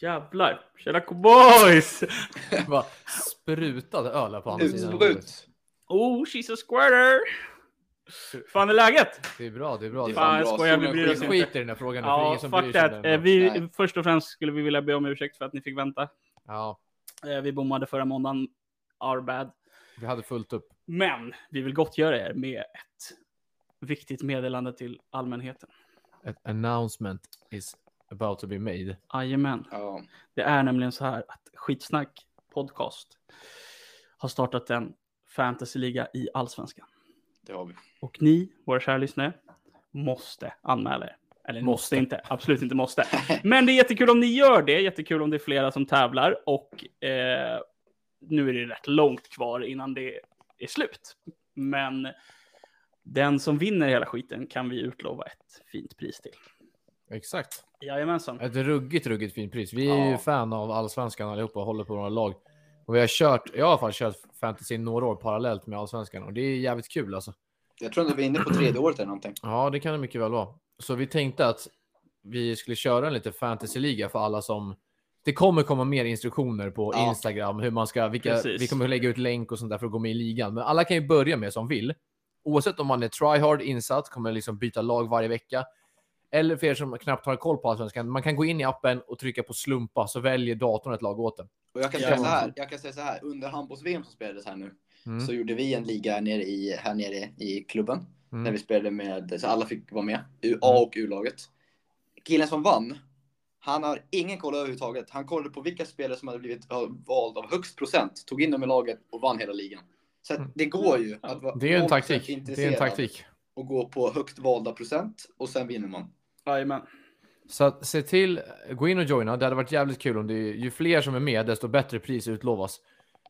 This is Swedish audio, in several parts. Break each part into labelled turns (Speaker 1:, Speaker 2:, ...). Speaker 1: Jävlar! Tjena cowboys!
Speaker 2: Det bara sprutade öl här på andra sidan. bordet.
Speaker 3: Utsprut.
Speaker 1: Oh, she's a squirter! Fan är läget?
Speaker 2: Det är bra, det är bra. Det är
Speaker 1: Fan,
Speaker 2: bra.
Speaker 1: jag
Speaker 3: bra.
Speaker 1: skojar, vi
Speaker 3: Solen
Speaker 1: bryr
Speaker 2: Vi
Speaker 1: oss
Speaker 3: skiner.
Speaker 1: inte.
Speaker 2: skiter i den här frågan nu, för det är
Speaker 1: Ja,
Speaker 2: ingen som bryr
Speaker 1: fuck
Speaker 2: sig om
Speaker 1: that. Eh,
Speaker 2: den.
Speaker 1: Vi,
Speaker 3: Nej.
Speaker 1: först och främst skulle vi vilja be om ursäkt för att ni fick vänta.
Speaker 2: Ja,
Speaker 1: Eh, Vi bommade förra måndagen, our bad.
Speaker 2: vi hade fullt upp.
Speaker 1: Men vi vill gottgöra er med ett viktigt meddelande till allmänheten.
Speaker 2: Ett announcement is about to be made.
Speaker 1: Jajamän.
Speaker 3: Ja.
Speaker 1: Det är nämligen så här att Skitsnack Podcast har startat en fantasyliga i Allsvenskan.
Speaker 3: Det har vi.
Speaker 1: Och ni, våra kära lyssnare, måste anmäla er. Eller måste, måste inte, absolut inte måste. Men det är jättekul om ni gör det, jättekul om det är flera som tävlar och eh, nu är det rätt långt kvar innan det är slut. Men den som vinner hela skiten kan vi utlova ett fint pris till.
Speaker 2: Exakt.
Speaker 1: Jajamensan.
Speaker 2: Ett ruggigt, ruggigt fint pris. Vi är ju
Speaker 3: Ja.
Speaker 2: fan av allsvenskan allihopa och håller på några lag. Och vi har kört, jag har i alla fall kört fantasy några år parallellt med allsvenskan och det är jävligt kul alltså.
Speaker 3: Jag tror ändå vi är inne på tredje året eller någonting.
Speaker 2: Ja, det kan det mycket väl vara. Så vi tänkte att vi skulle köra en liten fantasyliga för alla som... Det kommer komma mer instruktioner på
Speaker 3: Ja.
Speaker 2: Instagram, hur man ska, vilka,
Speaker 1: Precis.
Speaker 2: vi kommer lägga ut länk och sånt där för att gå med i ligan. Men alla kan ju börja med som vill. Oavsett om man är tryhard insatt, kommer liksom byta lag varje vecka. Eller för er som knappt har koll på allsvenskan, man kan gå in i appen och trycka på slumpa så väljer datorn ett lag åt en.
Speaker 3: Och jag kan
Speaker 1: Ja.
Speaker 3: säga så här. Jag kan säga så här. Under handbolls-VM som spelades här nu
Speaker 2: Mm.
Speaker 3: så gjorde vi en liga nere i, här nere i klubben.
Speaker 2: Mm.
Speaker 3: När vi spelade med, så alla fick vara med. U- A och U-laget. Killen som vann, han har ingen koll överhuvudtaget. Han kollade på vilka spelare som hade blivit eh, vald av högst procent, tog in dem i laget och vann hela ligan. Så att det går ju att vara
Speaker 2: Det är ju en
Speaker 3: 0%
Speaker 2: taktik. Det är en
Speaker 3: intresserad
Speaker 2: taktik.
Speaker 3: och gå på högst valda procent och sen vinner man.
Speaker 1: Jajamän.
Speaker 2: Så att se till, gå in och joina. Det hade varit jävligt kul om det, ju fler som är med, desto bättre pris utlovas.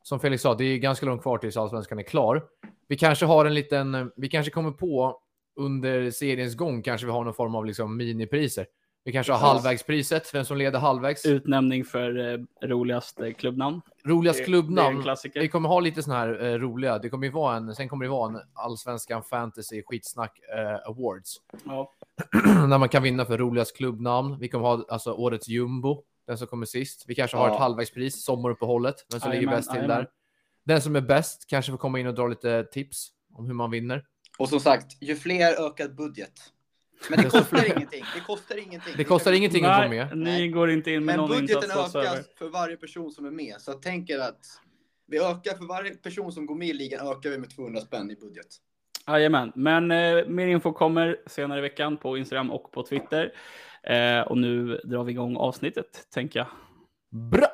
Speaker 2: Som Felix sa, det är ganska långt kvar tills allsvenskan är klar. Vi kanske har en liten, vi kanske kommer på under seriens gång, kanske vi har någon form av liksom minipriser. Vi kanske har
Speaker 3: Ja.
Speaker 2: halvvägspriset, vem som leder halvvägs.
Speaker 1: Utnämning för eh, roligast eh, klubbnamn.
Speaker 2: Roligast
Speaker 1: Det- Det är en
Speaker 2: klubbnamn. Vi
Speaker 1: klassiker.
Speaker 2: kommer ha lite såna här eh, roliga. Det kommer ju vara en, sen kommer det vara en allsvenskan fantasy skitsnack eh, awards.
Speaker 1: Ja.
Speaker 2: när man kan vinna för roligast klubbnamn. Vi kommer ha alltså årets jumbo, den som kommer sist. Vi kanske har
Speaker 3: Ja.
Speaker 2: ett halvvägspris, sommaruppehållet, den som ligger
Speaker 1: Jajamän,
Speaker 2: bäst till
Speaker 1: jajamän.
Speaker 2: där. Den som är bäst kanske får komma in och dra lite tips om hur man vinner.
Speaker 3: Och som sagt, ju fler ökad budget. Men det
Speaker 2: Desto
Speaker 3: kostar ingenting. Det kostar ingenting.
Speaker 2: Det kostar ingenting att vara
Speaker 1: Nej,
Speaker 2: med.
Speaker 1: ni
Speaker 3: Nej.
Speaker 1: går inte in med
Speaker 3: Men
Speaker 1: någon
Speaker 3: budgeten
Speaker 1: insats whatsoever.
Speaker 3: ökas för varje person som är med. Så jag tänker att vi ökar för varje person som går med i ligan ökar vi med 200 spänn i budget.
Speaker 1: Jajamän, men eh, mer info kommer senare i veckan på Instagram och på Twitter. Eh, och nu drar vi igång avsnittet, tänker jag.
Speaker 2: Bra!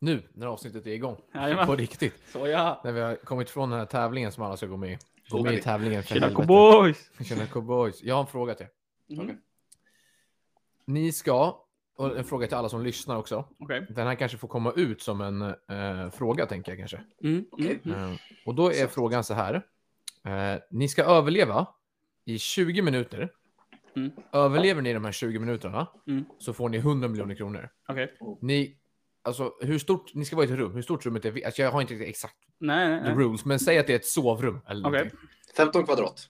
Speaker 2: Nu när avsnittet är igång.
Speaker 1: Jajamän.
Speaker 2: På riktigt.
Speaker 1: Så ja,
Speaker 2: När vi har kommit från den här tävlingen som alla ska gå med i. Gå
Speaker 3: Så
Speaker 2: med i
Speaker 3: är det.
Speaker 2: tävlingen för
Speaker 1: tjena
Speaker 2: helvete.
Speaker 1: cowboys!
Speaker 2: Tjena cowboys. Jag har en fråga till er.
Speaker 1: Mhm.
Speaker 3: Okej.
Speaker 2: Ni ska, och en fråga till alla som lyssnar också.
Speaker 1: Okej.
Speaker 2: Den här kanske får komma ut som en eh, fråga, tänker jag kanske.
Speaker 1: Mm, mm,
Speaker 3: Okej.
Speaker 1: mm.
Speaker 2: Eh, och då är
Speaker 3: Exakt.
Speaker 2: frågan så här. Eh, ni ska överleva i 20 minuter.
Speaker 1: Mm.
Speaker 2: Överlever ni de här 20 minuterna
Speaker 1: Mm.
Speaker 2: så får ni 100 miljoner kronor.
Speaker 1: Okej.
Speaker 2: Ni, alltså, hur stort, ni ska vara i ett rum. Hur stort rummet är, vet- alltså, jag har inte riktigt exakt
Speaker 1: Nej, nej,
Speaker 2: the
Speaker 1: nej.
Speaker 2: rules, men säg att det är ett sovrum. Eller
Speaker 1: Okej.
Speaker 2: okay.
Speaker 3: 15 kvadrat.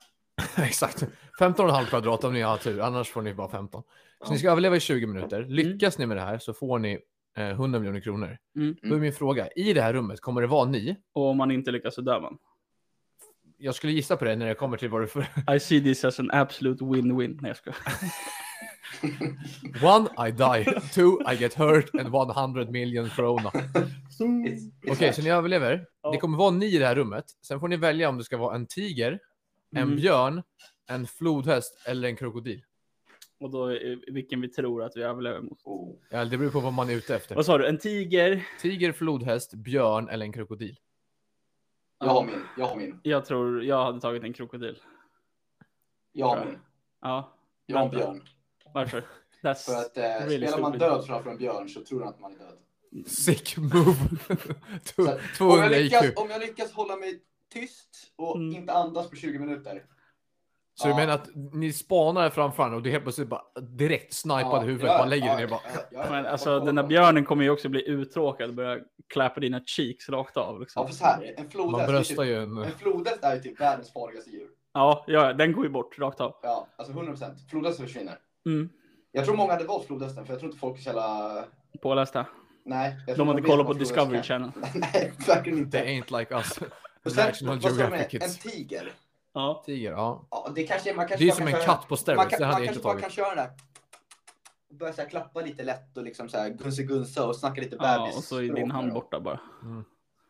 Speaker 2: Exakt. 15,5 kvadrat om ni har tur, annars får ni bara 15. Så
Speaker 3: Ja.
Speaker 2: ni ska överleva i 20 minuter. Lyckas ni med det här så får ni eh, 100 miljoner kronor.
Speaker 1: Mm.
Speaker 2: Då är min fråga, i det här rummet, kommer det vara ni?
Speaker 1: Och om man inte lyckas så dör man.
Speaker 2: Jag skulle gissa på det när det kommer till vad du för...
Speaker 1: I see this as an absolute win-win. Nej, jag skojar.
Speaker 2: One, I die. Two, I get hurt. And 100 million krona. Okej,
Speaker 3: Okej,
Speaker 2: så ni överlever.
Speaker 1: Ja.
Speaker 2: Det kommer vara ni i det här rummet. Sen får ni välja om det ska vara en tiger, en
Speaker 1: Mm.
Speaker 2: björn, en flodhäst eller en krokodil.
Speaker 1: Och då är vilken vi tror att vi överlever mot.
Speaker 2: Ja, det beror på vad man är ute efter.
Speaker 1: Vad sa du? En tiger?
Speaker 2: Tiger, flodhäst, björn eller en krokodil.
Speaker 3: Jag har min. Jag har min.
Speaker 1: Jag tror jag hade tagit en krokodil.
Speaker 3: Jag har min.
Speaker 1: Ja.
Speaker 3: Jag har en björn.
Speaker 1: Varför? That's...
Speaker 3: För att eh,
Speaker 1: Really
Speaker 3: spelar man
Speaker 1: stupid.
Speaker 3: död framför en björn så tror han att man är död.
Speaker 2: Sick move.
Speaker 3: Så att, om,
Speaker 2: 200
Speaker 3: jag
Speaker 2: IQ.
Speaker 3: lyckas, om jag lyckas hålla mig tyst och
Speaker 1: Mm.
Speaker 3: inte andas på 20 minuter.
Speaker 2: Så du
Speaker 3: Ja.
Speaker 2: menar att ni spanar framför honom och du helt plötsligt bara direkt snipade huvudet, bara lägger dig ner bara.
Speaker 3: ja, ja,
Speaker 1: Men
Speaker 3: ja.
Speaker 1: alltså den där björnen kommer ju också bli uttråkad och börja klappa dina cheeks rakt av. Liksom.
Speaker 3: Ja, för så här, en flodhäst.
Speaker 2: Man
Speaker 3: är
Speaker 2: bröstar
Speaker 3: typ-
Speaker 2: ju en...
Speaker 3: En flodhäst är ju typ världens farligaste djur.
Speaker 1: Ja, ja, den går ju bort rakt av.
Speaker 3: Ja, alltså 100 procent. Flodhästen försvinner.
Speaker 1: Mm.
Speaker 3: Jag tror många hade valt flodhästen, för jag tror inte folk är så jävla...
Speaker 1: Pålästa.
Speaker 3: Nej. jag tror
Speaker 1: De hade
Speaker 3: vet
Speaker 1: kollat på
Speaker 3: vad
Speaker 1: Discovery
Speaker 3: flodhästen
Speaker 1: Channel.
Speaker 3: är. Nej, verkligen
Speaker 2: Det
Speaker 3: inte.
Speaker 2: ain't like us.
Speaker 3: Och sen,
Speaker 2: National
Speaker 3: vad sa du med
Speaker 2: Geographic
Speaker 3: en
Speaker 2: Kids.
Speaker 3: tiger?
Speaker 1: Ja.
Speaker 2: Tiger, ja.
Speaker 3: Ja, det kanske man kanske
Speaker 2: Det är
Speaker 3: bara
Speaker 2: som
Speaker 3: kan
Speaker 2: en
Speaker 3: köra-
Speaker 2: katt på
Speaker 3: Man,
Speaker 2: steroids.
Speaker 3: kan,
Speaker 2: Det
Speaker 3: man
Speaker 2: hade jag
Speaker 3: kanske
Speaker 2: inte
Speaker 3: bara
Speaker 2: tagit.
Speaker 3: kan köra den där. Börja så här klappa lite lätt och liksom så här gunsa-gunsa och snacka lite
Speaker 1: ja,
Speaker 3: bebis.
Speaker 1: och så är din hand borta bara. Och,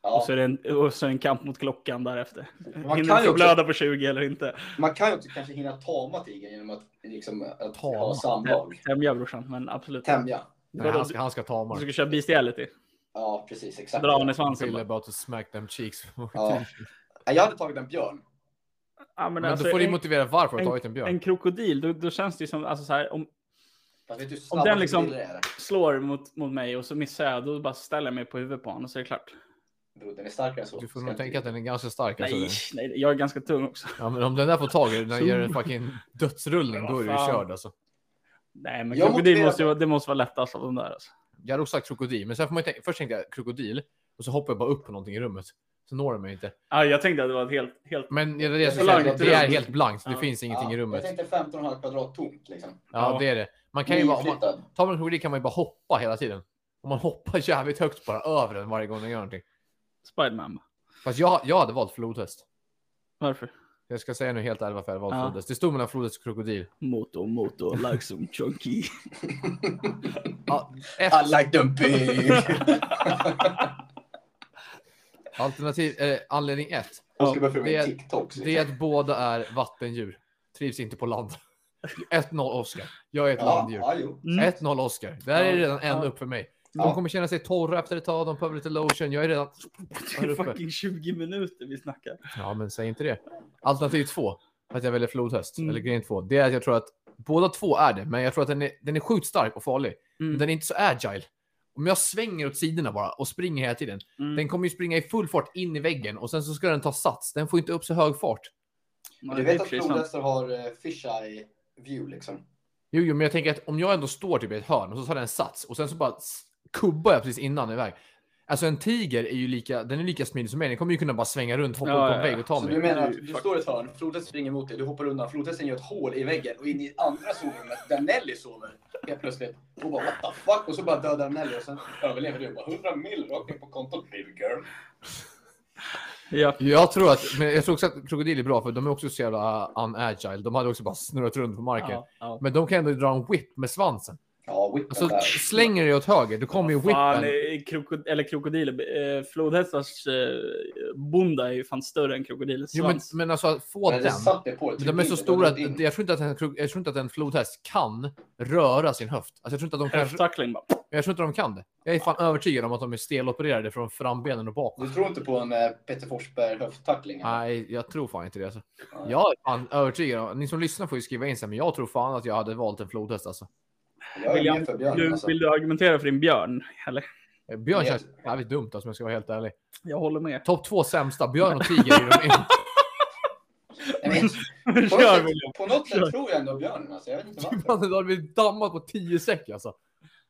Speaker 3: Ja.
Speaker 1: så är det en, och så är det en kamp mot klockan därefter.
Speaker 3: kan
Speaker 1: Hinner
Speaker 3: ju
Speaker 1: du
Speaker 3: också-
Speaker 1: blöda på 20 eller inte?
Speaker 3: Man kan ju också kanske hinna tama tigern genom att, liksom, att
Speaker 2: Tama?
Speaker 3: ha samlag.
Speaker 1: Tämja brorsan, men absolut.
Speaker 3: Tämja.
Speaker 2: Nej, han, ska, han ska ta
Speaker 1: Du
Speaker 2: Mark.
Speaker 1: ska köra bestiality.
Speaker 3: Ja, precis. Exakt.
Speaker 1: Dra honom i
Speaker 2: Phil
Speaker 1: svansen. bara.
Speaker 2: about to smack them cheeks.
Speaker 3: Ja. Jag hade tagit en björn.
Speaker 1: Ja, men
Speaker 2: Men
Speaker 1: alltså,
Speaker 2: då får du
Speaker 1: en-
Speaker 2: motivera varför du
Speaker 1: en-
Speaker 2: har tagit en björn.
Speaker 1: En krokodil, då, då känns det ju som, alltså så här, om
Speaker 3: Fast vet du hur
Speaker 1: Om
Speaker 3: snabba
Speaker 1: den liksom-
Speaker 3: krokodiler är?
Speaker 1: slår mot, mot mig och så missar jag, då bara ställer jag mig på huvudet på honom och så är det klart.
Speaker 3: Bro, den är starkare än så.
Speaker 2: Du får
Speaker 3: Ska
Speaker 2: nog
Speaker 3: inte-
Speaker 2: tänka att den är ganska stark. Alltså.
Speaker 1: Nej, nej, jag är ganska tung också.
Speaker 2: Ja, men om den där får tag i den, den ger en fucking dödsrullning,
Speaker 1: Men
Speaker 2: då är
Speaker 1: vad
Speaker 2: du ju
Speaker 1: fan.
Speaker 2: körd alltså.
Speaker 1: Nej, men
Speaker 3: Jag
Speaker 1: krokodil
Speaker 3: motiverar-
Speaker 1: måste ju, vara- det måste vara lättast av de där. Alltså.
Speaker 2: Jag hade också sagt krokodil, men sen får man ju tänka, först tänkte jag krokodil och så hoppar jag bara upp på någonting i rummet. Så når den mig inte.
Speaker 1: Ja, jag tänkte att det var ett helt, helt...
Speaker 2: Men det är det jag skulle
Speaker 1: Så
Speaker 2: säga,
Speaker 1: långt
Speaker 2: det är
Speaker 1: runt.
Speaker 2: helt blankt. Det
Speaker 1: Ja.
Speaker 2: finns ingenting
Speaker 3: Ja,
Speaker 2: i
Speaker 3: Jag
Speaker 2: rummet.
Speaker 3: tänkte 15,5 kvadrat tomt liksom.
Speaker 2: Ja,
Speaker 1: Ja.
Speaker 2: det är det. Man kan ju bara, om man,
Speaker 3: Nyinflyttad.
Speaker 2: tar man en krokodil kan man ju bara hoppa hela tiden. Om man hoppar jävligt högt bara över den varje gång den gör någonting.
Speaker 1: Spiderman.
Speaker 2: Fast jag, jag hade valt flodhäst.
Speaker 1: Varför?
Speaker 2: Jag ska säga nu helt ärligt varför jag valde
Speaker 1: Ja.
Speaker 2: flodhäst. Det stod mellan flodhäst och krokodil.
Speaker 1: Motor, motor, like some chunky.
Speaker 2: Ja,
Speaker 3: I
Speaker 2: ett
Speaker 3: like them big!
Speaker 2: alternativ, eh, anledning ett.
Speaker 3: Hon ska börja följa
Speaker 2: det är-
Speaker 3: med TikToks. liksom.
Speaker 2: Det är att båda är vattendjur. Trivs inte på land. 1-0 Oscar. Jag är ett
Speaker 3: ja,
Speaker 2: landdjur.
Speaker 3: ja, jo.
Speaker 1: Mm.
Speaker 2: 1-0 Oscar. Där är det redan en
Speaker 1: Ja.
Speaker 2: upp för mig. De
Speaker 3: Ja.
Speaker 2: kommer känna sig torra efter ett tag. De behöver lite lotion. Jag är redan...
Speaker 1: Det
Speaker 2: här
Speaker 1: är
Speaker 2: uppe.
Speaker 1: fucking 20 minuter vi snackar.
Speaker 2: Ja, men säg inte det. Alternativ två, att jag väljer flodhäst,
Speaker 1: Mm.
Speaker 2: eller gren två, det är att jag tror att båda två är det, men jag tror att den är, den är sjukt stark och farlig. Men
Speaker 1: Mm.
Speaker 2: den är inte så agile. Om jag svänger åt sidorna bara och springer hela tiden,
Speaker 1: Mm.
Speaker 2: den kommer ju springa i full fart in i väggen och sen så ska den ta sats. Den får inte upp så hög fart.
Speaker 1: Ja,
Speaker 3: Men du
Speaker 1: det är
Speaker 3: vet att
Speaker 1: precis sant.
Speaker 3: flodhästar har eh, fisheye view liksom.
Speaker 2: Jo, jo, men jag tänker att om jag ändå står typ i ett hörn och så tar den sats och sen så bara s- kubbar jag precis innan iväg. Alltså en tiger är ju lika, den är lika smidig som mig. Den kommer ju kunna bara svänga runt, hoppa
Speaker 1: Ja,
Speaker 2: upp på en
Speaker 1: ja,
Speaker 2: vägg
Speaker 1: ja.
Speaker 2: och ta
Speaker 3: Så
Speaker 2: mig.
Speaker 3: du menar att
Speaker 1: Det är ju
Speaker 3: du står i ett hörn, flodhästen springer mot dig, du hoppar undan, flodhästen gör ett hål i väggen och in i andra sovrummet där Nelly sover helt plötsligt. Och bara what the fuck? Och så bara dödar Nelly och sen överlever du. Bara 100 mil rakt in på kontot baby girl.
Speaker 1: Ja.
Speaker 2: Jag tror, att, men jag tror också att krokodiler är bra för de är också så jävla uh, unagile. De hade också bara snurrat runt på marken.
Speaker 1: Ja, ja.
Speaker 2: Men de kan ändå dra en whip med svansen.
Speaker 3: Ja, whippen
Speaker 2: Alltså
Speaker 3: där.
Speaker 2: slänger du dig åt höger, då kommer ju
Speaker 1: Fan,
Speaker 2: whippen.
Speaker 1: eh, krokod eller krokodiler. Eh, flodhästars eh, bonda är ju fan större än krokodilens
Speaker 2: Jo, men,
Speaker 1: svans.
Speaker 2: men alltså att få
Speaker 3: Men det
Speaker 2: den.
Speaker 3: satt det på det.
Speaker 2: De är
Speaker 3: Tryck
Speaker 2: så
Speaker 3: in,
Speaker 2: stora
Speaker 3: det var
Speaker 2: att
Speaker 3: inte in.
Speaker 2: jag tror inte att en, krok- jag tror inte att en flodhäst kan röra sin höft. Alltså, jag, tror inte att de kan,
Speaker 1: Höfttackling Äh, bara.
Speaker 2: jag tror inte de kan det. Jag är fan övertygad om att de är stelopererade från frambenen och bakåt.
Speaker 3: Du tror inte på en eh, Peter Forsberg höfttackling? eller?
Speaker 2: Nej, jag tror fan inte det. Alltså.
Speaker 3: Nej.
Speaker 2: Jag är fan övertygad. om- Ni som lyssnar får ju skriva in sig, men jag tror fan att jag hade valt en flodhäst. Alltså.
Speaker 3: Jag är
Speaker 1: William,
Speaker 3: med för björnen
Speaker 1: Du,
Speaker 3: alltså.
Speaker 1: Vill du argumentera för din björn? Eller?
Speaker 2: Björn
Speaker 3: Jag-
Speaker 2: känns jävligt dumt alltså, om jag ska vara helt ärlig.
Speaker 1: Jag håller med.
Speaker 2: Topp två sämsta, Björn och Tiger. är de inte.
Speaker 3: Nej, men- På något
Speaker 1: Kör
Speaker 3: sätt-
Speaker 1: William.
Speaker 3: På något
Speaker 1: Kör.
Speaker 3: sätt tror jag ändå björnen alltså. Jag vet inte varför.
Speaker 2: Mannen, Då hade vi dammat på 10 säck alltså.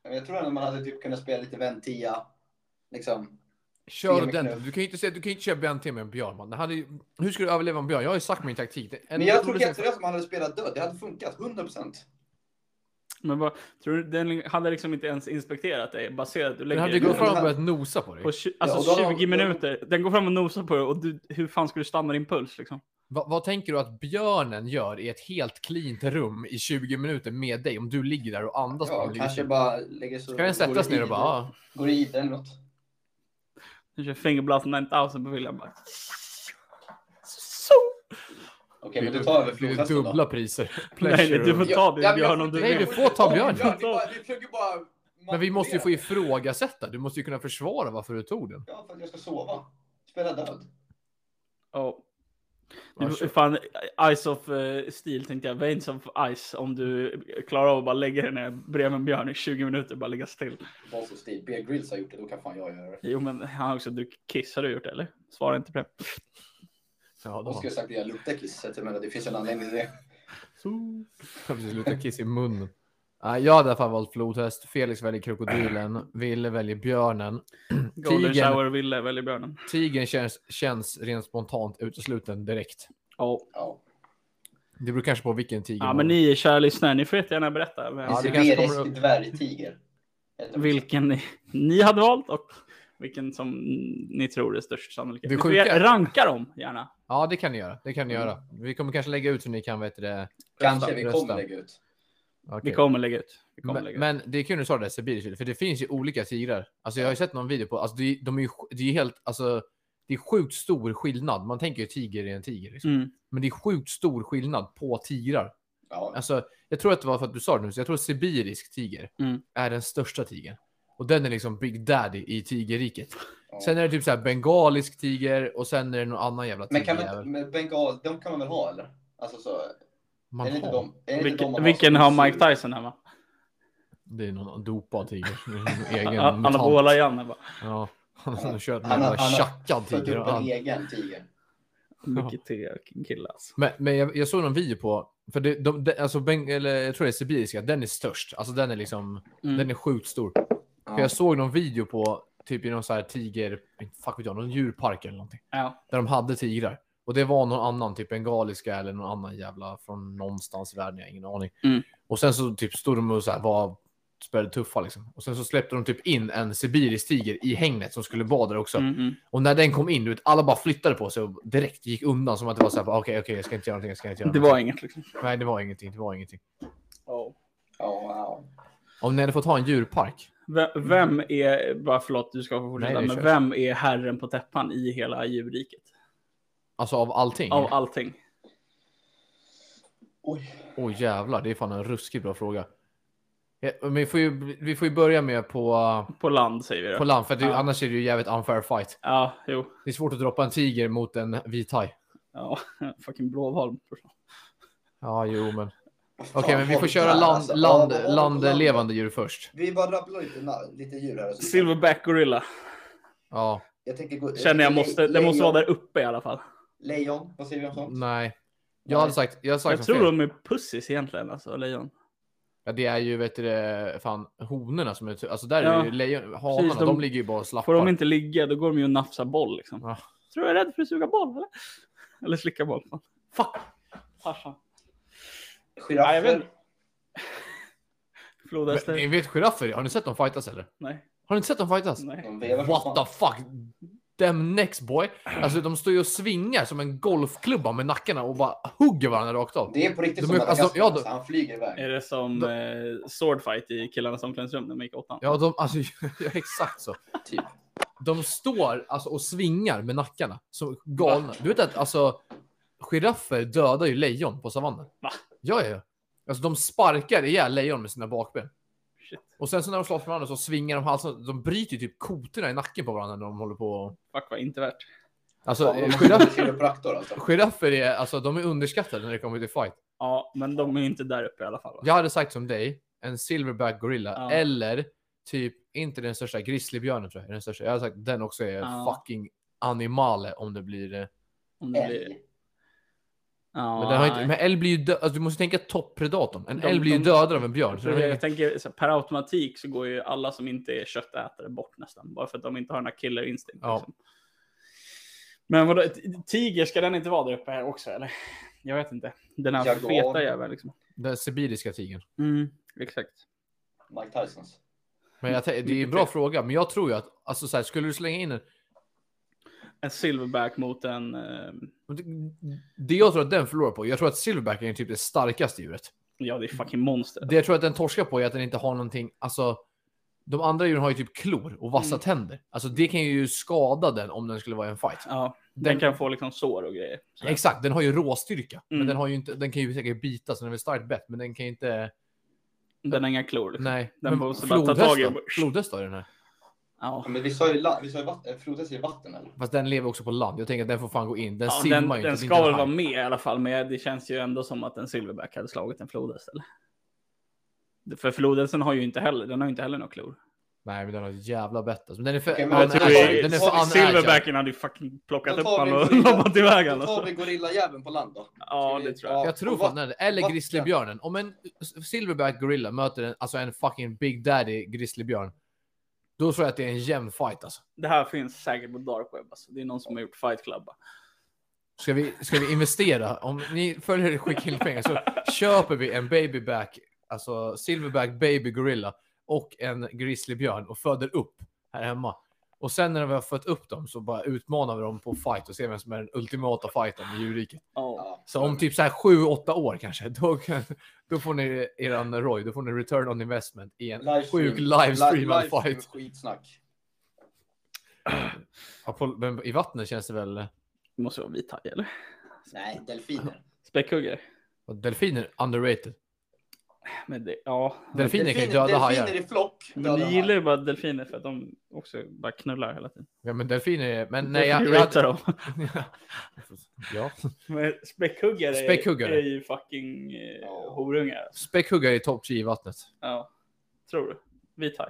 Speaker 3: Men Jag tror ändå man hade typ kunnat spela lite Ventia. Liksom.
Speaker 2: Kör
Speaker 3: Tre med
Speaker 2: den.
Speaker 3: knuff.
Speaker 2: Du kan ju inte, säga, du kan ju inte köra BNT med en björn. Man. Det hade ju, hur ska du överleva en björn? Jag har ju sagt min taktik. Det- En
Speaker 3: Men jag tror
Speaker 2: rolig sak-
Speaker 3: helt seriöst om man hade spelat död. Det hade funkat 100%.
Speaker 1: Men vad, tror du, den hade liksom inte ens inspekterat dig baserat du
Speaker 2: Den
Speaker 1: lägger
Speaker 2: hade ju
Speaker 1: dig
Speaker 2: gått
Speaker 1: ner
Speaker 2: fram och börjat nosa på dig.
Speaker 1: på tju-
Speaker 3: Ja, och
Speaker 1: alltså
Speaker 3: då har-
Speaker 1: 20 minuter. Den går fram och nosar på dig och du, hur fan ska du stanna din puls liksom?
Speaker 2: Va, vad tänker du att björnen gör i ett helt cleant rum i 20 minuter med dig om du ligger där och andas? på
Speaker 3: Ja,
Speaker 2: den?
Speaker 3: kanske bara lägger sig
Speaker 2: typ- Ska den
Speaker 3: går
Speaker 2: sättas
Speaker 3: i
Speaker 2: ner och
Speaker 3: ide-
Speaker 2: bara... ah.
Speaker 3: Går i ide eller något.
Speaker 1: Du kör fingerblast 9000 på William bara.
Speaker 3: Okej,
Speaker 2: Vill
Speaker 3: men
Speaker 2: du
Speaker 3: du tar över
Speaker 2: vill du
Speaker 3: flodhästen då.
Speaker 2: dubbla priser?
Speaker 1: Nej, nej,
Speaker 2: Pleasure.
Speaker 1: du får ta din
Speaker 3: Ja, men jag-
Speaker 1: björn om du
Speaker 2: Nej,
Speaker 1: vill.
Speaker 2: du får ta björn.
Speaker 3: Vi bara- Vi försöker bara...
Speaker 2: Men vi måste ju få ifrågasätta. Du måste ju kunna försvara varför du tog den.
Speaker 3: Ja, för att jag ska sova. Spela död.
Speaker 1: Ja.
Speaker 2: Ja,
Speaker 1: Du,
Speaker 2: kör.
Speaker 1: fan, Ice of eh, Steel tänkte jag. Veins of Ice. Om du klarar av att bara lägga dig ner bredvid en björn i 20 minuter och bara ligga still.
Speaker 3: Boss och Steve. Bear Grylls har gjort det, då kan fan jag göra det.
Speaker 1: Jo, men han har också druckit kiss. Har du gjort det, eller? Svara inte på det.
Speaker 2: Ja, då
Speaker 3: Då
Speaker 2: har
Speaker 3: skulle
Speaker 2: han
Speaker 3: jag sagt att jag luktar kiss. så att jag menar, Det finns en anledning till det.
Speaker 2: precis lutat kiss i munnen. Nej, jag hade i alla fall valt flodhäst. Felix väljer krokodilen. Ville väljer björnen.
Speaker 1: Golden
Speaker 2: Tigern.
Speaker 1: Shower ville väljer björnen.
Speaker 2: Tigern känns, känns rent spontant utesluten direkt.
Speaker 1: Ja.
Speaker 3: Ja.
Speaker 2: Det beror kanske på vilken tiger.
Speaker 1: Ja,
Speaker 2: man-
Speaker 1: men ni kära lyssnare, ni får jättegärna berätta vem,
Speaker 2: Ja, det kanske kommer
Speaker 3: Sibirisk
Speaker 2: upp.
Speaker 3: dvärgtiger.
Speaker 1: vilken ni, ni hade valt och vilken som ni tror är störst sannolikhet.
Speaker 2: Det
Speaker 1: Ni får
Speaker 2: sjuka-
Speaker 1: gärna ranka dem gärna.
Speaker 2: Ja, det kan ni göra. Det kan ni
Speaker 3: Mm.
Speaker 2: göra. Vi kommer kanske lägga ut så ni kan vet det.
Speaker 3: Kanske vi
Speaker 2: Rösta.
Speaker 3: kommer lägga ut.
Speaker 2: Okej.
Speaker 1: Vi kommer lägga ut. Vi kommer
Speaker 2: Men,
Speaker 1: lägga ut.
Speaker 2: men det är kul när du sa det där sibirisk, för det finns ju olika tigrar. Alltså jag har ju sett någon video på, alltså de, de är ju sj- det är ju helt, alltså det är sjukt stor skillnad. Man tänker ju tiger är en tiger, liksom.
Speaker 1: Mm.
Speaker 2: men det är sjukt stor skillnad på tigrar.
Speaker 3: Ja,
Speaker 2: Alltså, jag tror att det var för att du sa det nu, så jag tror att sibirisk tiger
Speaker 1: Mm.
Speaker 2: är den största tigern. Och den är liksom Big Daddy i tigerriket.
Speaker 3: ja.
Speaker 2: Sen är det typ så här bengalisk tiger och sen är det någon annan jävla
Speaker 3: men
Speaker 2: tiger.
Speaker 3: kan man, men bengal, de kan man väl ha eller? Alltså så,
Speaker 2: man
Speaker 3: är det inte
Speaker 2: har.
Speaker 3: de? Är det inte de
Speaker 1: Vilken,
Speaker 3: man
Speaker 1: vilken
Speaker 3: som
Speaker 1: har
Speaker 3: sur?
Speaker 1: Mike Tyson hemma?
Speaker 2: Det är någon dopad tiger. Det är någon egen
Speaker 1: Ja,
Speaker 2: mutant.
Speaker 1: Anabola Janne bara.
Speaker 2: Ja, han har kört med
Speaker 3: Han
Speaker 2: en
Speaker 3: har-
Speaker 2: jävla
Speaker 3: han har
Speaker 2: tjackad
Speaker 3: Fött
Speaker 2: tiger.
Speaker 3: upp en
Speaker 2: Han-
Speaker 3: egen tiger.
Speaker 1: Mycket tidigare kille alltså.
Speaker 2: Men, men jag, jag såg någon video på, för det, de, de, alltså, beng, eller, jag tror det är sibiriska, den är störst. Alltså den är liksom,
Speaker 1: Mm.
Speaker 2: den är sjukt stor. För
Speaker 3: Ja.
Speaker 2: jag såg någon video på, typ i någon så här tiger, inte fuck vet jag, någon djurpark eller någonting.
Speaker 1: Ja.
Speaker 2: Där de hade tigrar. Och det var någon annan, typ bengaliska eller någon annan jävla från någonstans i världen, jag har ingen aning.
Speaker 1: Mm.
Speaker 2: Och sen så typ stod de och så här var, spelade tuffa liksom. Och sen så släppte de typ in en sibirisk tiger i hängnet som skulle vara där också.
Speaker 1: Mm, mm.
Speaker 2: Och när den kom in, du vet, alla bara flyttade på sig och direkt gick undan som att det var så här, bara, okej, okej, jag ska inte göra någonting, jag ska inte göra
Speaker 1: Det
Speaker 2: någonting.
Speaker 1: var inget liksom.
Speaker 2: Nej, det var ingenting, det var ingenting.
Speaker 3: Ja, wow.
Speaker 2: Om ni hade fått ha en djurpark,
Speaker 1: Ve- Vem är, bara förlåt du ska få fortsätta,
Speaker 2: Nej, det
Speaker 1: men
Speaker 2: kör.
Speaker 1: vem är herren på täppan i hela djurriket?
Speaker 2: alltså av allting?
Speaker 1: Av allting.
Speaker 3: Oj.
Speaker 2: Åh jävlar, det är fan en ruskigt bra fråga. Ja, men vi, får ju, vi får ju börja med på,
Speaker 1: På land säger vi då.
Speaker 2: på land, för att det,
Speaker 1: Ja.
Speaker 2: annars är det ju jävligt unfair fight.
Speaker 1: Ja, jo.
Speaker 2: Det är svårt att droppa en tiger mot en vit haj.
Speaker 1: Ja, fucking Blåholm.
Speaker 2: Ja, jo, men okej,
Speaker 3: Vad fan
Speaker 2: men vi
Speaker 3: har
Speaker 2: får köra
Speaker 3: där,
Speaker 2: land,
Speaker 3: alltså?
Speaker 2: land,
Speaker 3: Ja, vad har vi på landet?
Speaker 2: landlevande djur först.
Speaker 3: Vi bara rabblar lite, na- lite djur här. och så-
Speaker 1: Silverback Gorilla.
Speaker 2: Ja,
Speaker 3: Jag tänker gå,
Speaker 1: Känner jag
Speaker 3: le-
Speaker 1: måste, det måste
Speaker 3: lejon.
Speaker 1: vara där uppe i alla fall.
Speaker 3: Lejon, vad säger vi om sånt?
Speaker 2: nej. Jag hade sagt, jag hade sagt
Speaker 1: Jag
Speaker 2: som
Speaker 1: tror
Speaker 2: fel.
Speaker 1: de är pussis egentligen, alltså lejon.
Speaker 2: Ja, det är ju vet du, det, fan honorna som är... Alltså där är
Speaker 1: Ja.
Speaker 2: ju lejon, hanarna,
Speaker 1: Precis,
Speaker 2: de,
Speaker 1: de-
Speaker 2: ligger ju bara och slappar.
Speaker 1: Får de inte ligga, då går de ju och nafsar boll liksom.
Speaker 2: Ja.
Speaker 1: Tror du jag är rädd för att suga boll eller? Eller slicka boll. Fan. Fuck! Farsan. Ja, jag
Speaker 3: Giraffer?
Speaker 1: vet. Flodhästar.
Speaker 2: Men, ni vet giraffer, har ni sett dem fightas eller?
Speaker 1: Nej,
Speaker 2: Har ni inte sett dem fightas?
Speaker 1: nej.
Speaker 3: De vevar som
Speaker 2: What
Speaker 3: fan.
Speaker 2: the fuck? Them next boy. Alltså de står ju och svingar som en golfklubba med nackarna och bara hugger varandra rakt av.
Speaker 3: Det är på riktigt
Speaker 2: De
Speaker 3: som
Speaker 2: är- alltså,
Speaker 3: Madagaskar,
Speaker 2: ja,
Speaker 3: alltså, han flyger iväg.
Speaker 1: Är det som
Speaker 2: Då-
Speaker 1: eh, swordfight i killarnas omklädningsrum när man gick åttan?
Speaker 2: Ja, de, alltså ja, exakt så.
Speaker 3: Typ.
Speaker 2: De står alltså och svingar med nackarna som galna. Du vet att alltså giraffer dödar ju lejon på savannen.
Speaker 1: Va?
Speaker 2: Ja, ja, ja. Alltså de sparkar ihjäl lejon med sina bakben.
Speaker 1: Shit,
Speaker 2: Och sen så när de slåss med varandra så svingar de halsen. De bryter ju typ kotorna i nacken på varandra när de håller på. och-
Speaker 1: fuck vad inte värt.
Speaker 2: Alltså
Speaker 3: Fan,
Speaker 2: eh,
Speaker 3: de måste
Speaker 2: giraff,
Speaker 3: bli kiropraktor alltså.
Speaker 2: giraffer är alltså de är underskattade när det kommer till fight.
Speaker 1: Ja, men de är inte där uppe i alla fall. va?
Speaker 2: Jag hade sagt som dig, en silverback gorilla
Speaker 1: Ja.
Speaker 2: eller typ inte den största grizzlybjörnen tror jag. är Den största. Jag hade sagt den också är
Speaker 1: Ja.
Speaker 2: fucking animale om det blir. eh,
Speaker 1: Om det blir...
Speaker 3: Älg.
Speaker 1: Ja,
Speaker 2: Men, den har inte,
Speaker 1: nej.
Speaker 2: men älg blir ju dö- alltså, du måste tänka toppredatorn. En
Speaker 1: De-
Speaker 2: älg blir ju
Speaker 1: de-
Speaker 2: dödad av en björn.
Speaker 1: Jag,
Speaker 2: Så
Speaker 1: tror
Speaker 2: den har
Speaker 1: det, jag
Speaker 2: ingen-
Speaker 1: tänker så här, per automatik så går ju alla som inte är köttätare bort nästan. Bara för att de inte har den här killer instinct.
Speaker 2: Ja.
Speaker 1: Liksom. Men vadå, t- tiger, ska den inte vara där uppe här också eller? Jag vet inte. Den här
Speaker 3: Jaguar.
Speaker 1: feta jäveln liksom.
Speaker 2: Den sibiriska tigern.
Speaker 1: Mm, exakt.
Speaker 3: Mike Tysons.
Speaker 2: Men jag, tän- det är en
Speaker 1: Mycket
Speaker 2: bra
Speaker 1: fel.
Speaker 2: fråga, men jag tror ju att alltså, så här, skulle du slänga in en
Speaker 1: En silverback mot en... eh,
Speaker 2: Men det- Det jag tror att den förlorar på, jag tror att silverback är typ det starkaste djuret.
Speaker 1: ja, det är fucking monster.
Speaker 2: Det jag tror att den torskar på är att den inte har någonting, alltså de andra djuren har ju typ klor och vassa
Speaker 1: Mm.
Speaker 2: tänder. Alltså det kan ju skada den om den skulle vara i en fight.
Speaker 1: Ja, den,
Speaker 2: Den-
Speaker 1: kan få liksom sår och grejer. Så.
Speaker 2: Exakt, den har ju råstyrka. Men
Speaker 1: Mm.
Speaker 2: den, har ju inte, den kan ju säkert bita så den är väl starkt bett. Men den kan ju inte...
Speaker 1: Den har inga klor. Liksom.
Speaker 2: Nej.
Speaker 1: Den
Speaker 2: men
Speaker 1: måste bara ta tag i den.
Speaker 2: Flodhäst har ju den här.
Speaker 1: Ja.
Speaker 3: Ja, Men vi sa ju, la- vi sa ju vatten, Frodes i vatten eller?
Speaker 2: Fast den lever också på land. Jag tänker att den får fan gå in. Den
Speaker 1: Ja,
Speaker 2: simmar
Speaker 1: den,
Speaker 2: ju inte.
Speaker 1: den
Speaker 2: Det är
Speaker 1: ska
Speaker 2: inte en
Speaker 1: väl
Speaker 2: haj.
Speaker 1: vara med i alla fall, men det känns ju ändå som att en silverback hade slagit en flodhäst. Eller? För flodhästen har ju inte heller, den har ju inte heller några klor.
Speaker 2: Nej, men den har ett jävla bett. Alltså. Men den är för...
Speaker 3: Okej, men
Speaker 1: Jag
Speaker 3: den
Speaker 1: tror
Speaker 3: är-
Speaker 1: ju-
Speaker 2: den är
Speaker 3: tar vi
Speaker 2: för unerkänd.
Speaker 1: Silverbacken hade ju fucking plockat
Speaker 3: Då
Speaker 1: upp
Speaker 3: tar vi
Speaker 1: honom och
Speaker 3: gorilla-
Speaker 1: loppat iväg
Speaker 3: Då tar
Speaker 1: honom.
Speaker 3: vi gorilljäveln på land då.
Speaker 1: Ja, det tror jag.
Speaker 2: Jag tror fan den, eller
Speaker 3: vatten.
Speaker 2: grizzlybjörnen. Om en silverback gorilla möter en, alltså en fucking big daddy grizzlybjörn. Då tror jag att det är en jämn fight alltså.
Speaker 1: Det här finns säkert på dark web. Alltså. Det är någon som har gjort fight club. bara.
Speaker 2: Ska vi, ska vi investera? Om ni följer det skickar in pengar så köper vi en babyback, alltså silverback baby gorilla och en grizzlybjörn och föder upp här hemma. Och sen när vi har fött upp dem så bara utmanar vi dem på fight och ser vem som är den ultimata fighten i djurriket.
Speaker 3: Ja.
Speaker 2: Så om typ så här 7-8 år kanske, då, kan, då får ni eran Roy, då får ni return on investment i en sjuk livestreamad
Speaker 3: Live- livestream
Speaker 2: fight.
Speaker 3: Skitsnack.
Speaker 2: Ja, på, men i vattnet känns det väl...
Speaker 1: Det måste vara vithaj eller?
Speaker 3: Nej, delfiner.
Speaker 1: Späckhuggare?
Speaker 2: Delfiner underrated.
Speaker 1: Men det, ja.
Speaker 2: Delfiner kan ju döda hajar.
Speaker 3: Delfiner i flock.
Speaker 1: Men
Speaker 3: dödar
Speaker 1: ni gillar ju bara delfiner för att de också bara knullar hela tiden.
Speaker 2: Ja, men delfiner är... Men nej, jag...
Speaker 1: jag,
Speaker 2: jag
Speaker 1: ratar dem.
Speaker 2: ja.
Speaker 1: Men späckhuggare, är-
Speaker 2: Späckhuggare.
Speaker 1: är ju fucking eh,
Speaker 3: Ja.
Speaker 1: horungar.
Speaker 2: Späckhuggare är topp 10 i vattnet.
Speaker 1: Ja. Tror du? Vithaj.